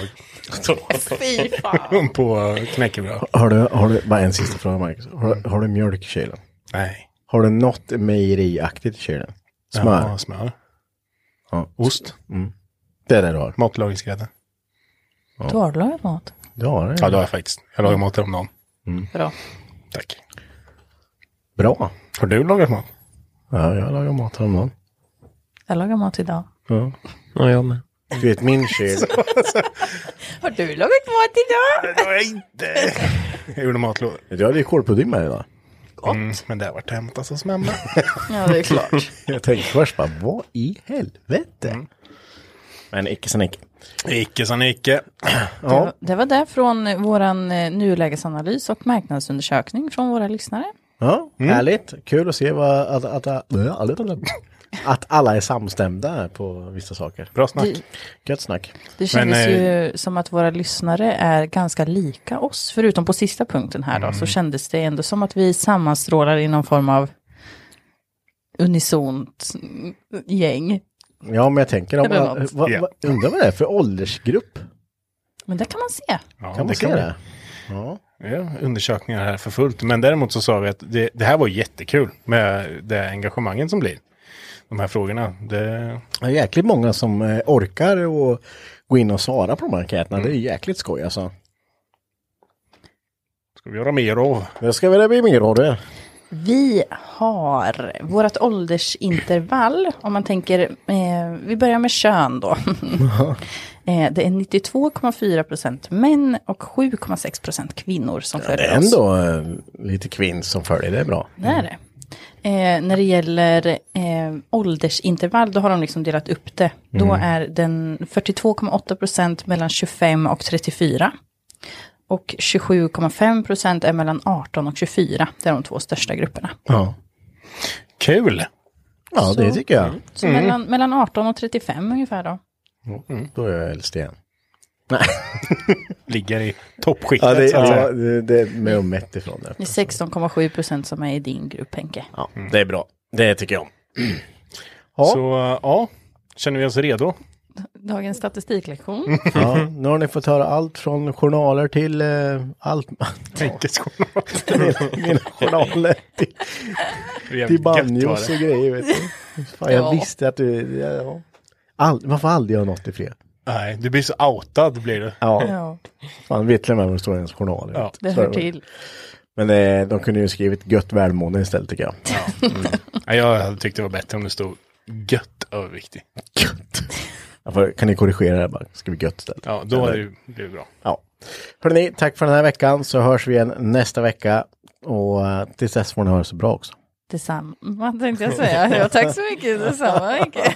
Fy fan.
på knäckebröd.
Har du, har du, bara en sista fråga Marcus. Har, du- har du mjölk i kylen?
Nej.
Har du något mejeriaktigt i kylen? Smör?
Ja, smör.
Ja. Mm.
Ost.
Det är det du har?
Matlagningsgrädde.
Du har lagat mat.
Du har det?
Ja, det har jag faktiskt. Jag lagar mat häromdagen.
Bra.
Tack.
Bra.
Har du lagat mat?
Ja, jag lagar mat häromdagen.
Jag lagar mat idag.
Ja.
Ja, jag med.
Du vet min kyl. [laughs]
Har du lagat mat idag?
Det har jag inte. [laughs] Jag gjorde matlådor.
Du hade ju kålpudding med dig idag.
Mm, men det har varit hämtat alltså, som hemma.
Ja, det är klart.
Jag tänkte först bara, vad i helvete? Mm. Men icke sen icke.
Icke sa Nicke.
Det var, det var det från eh, våran eh, nulägesanalys och marknadsundersökning från våra lyssnare.
Ja, härligt. Kul att se vad, att, att, att, att alla är samstämda på vissa saker.
Bra snack.
Det-
Gött snack.
Det kändes
eh,
ju som att våra lyssnare är ganska lika oss, förutom på sista punkten här då, så kändes det ändå som att vi sammanstrålar i någon form av unisont mm, gäng.
Ja, men jag tänker, om,
Eller
va,
något.
va,
Ja.
undrar vad det är för åldersgrupp?
Men det kan man se.
Ja,
Kan man se
vi-
det? Ja.
Ja, undersökningar här för fullt. Men däremot så sa vi att det, det här var jättekul med det engagemangen som blir. De här frågorna. Det,
Det är jäkligt många som eh, orkar och gå in och svara på de här enkäterna. Det är jäkligt skoj alltså.
ska vi göra mer av.
Det ska väl bli mer av det.
Vi har vårt åldersintervall, om man tänker, eh, vi börjar med kön då. eh, det är 92,4 procent män och 7,6 procent kvinnor som följer oss.
Ändå eh, lite kvinn som följer, det är bra.
Det är det. eh, när det gäller eh, åldersintervall, då har de liksom delat upp det. Då
Mm.
är den 42,8 procent mellan 25 och 34. Och 27,5 procent är mellan 18 och 24. Det är de två största grupperna.
Ja. Kul!
Ja, det tycker jag.
Så mellan, mellan 18 och 35 ungefär då.
Då är jag äldst igen.
Ligger i toppskiktet.
[laughs] Ja, det,
så att säga.
ja, det, det är med och mätt ifrån det.
Det är 16,7 procent som är i din grupp Henke.
Ja, det är bra. Det tycker jag om. Ja.
Så ja, känner vi oss redo?
Dagens
Mm.
statistiklektion.
[laughs] Ja, nu har ni fått höra allt från journaler till eh, allt. [laughs]
Tänkes
Mina [laughs] journaler till, till banjos och grejer. Vet du. Fan, jag
Ja.
visste att du... Ja, ja. All, man får aldrig göra något i fred.
Nej, du blir så outad blir du.
Ja,
Ja,
fan vet till och med vad det står i ens journal. jag
Ja.
vet.
det
Så är
hör
det.
till.
Men eh, de kunde ju skrivit gött välmående istället tycker
[laughs]
jag.
Ja, jag hade tyckt det var bättre om det stod gött överviktig.
Gött! Jag får- Kan ni korrigera det bara? Ska vi gött istället?
Ja, då hade det blivit bra.
Ja. Hörrni, tack för den här veckan så hörs vi igen nästa vecka. Och eh, tills dess får ni ha det så bra också.
Detsamma tänkte jag säga. Ja, tack så mycket. Detsamma Henke.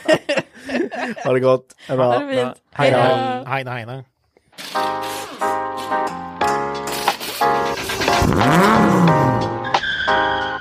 Ha det gott! Hej då.
Ha det fint.
Hej
Hej då.
då! Hej då, hej då!
Hej då!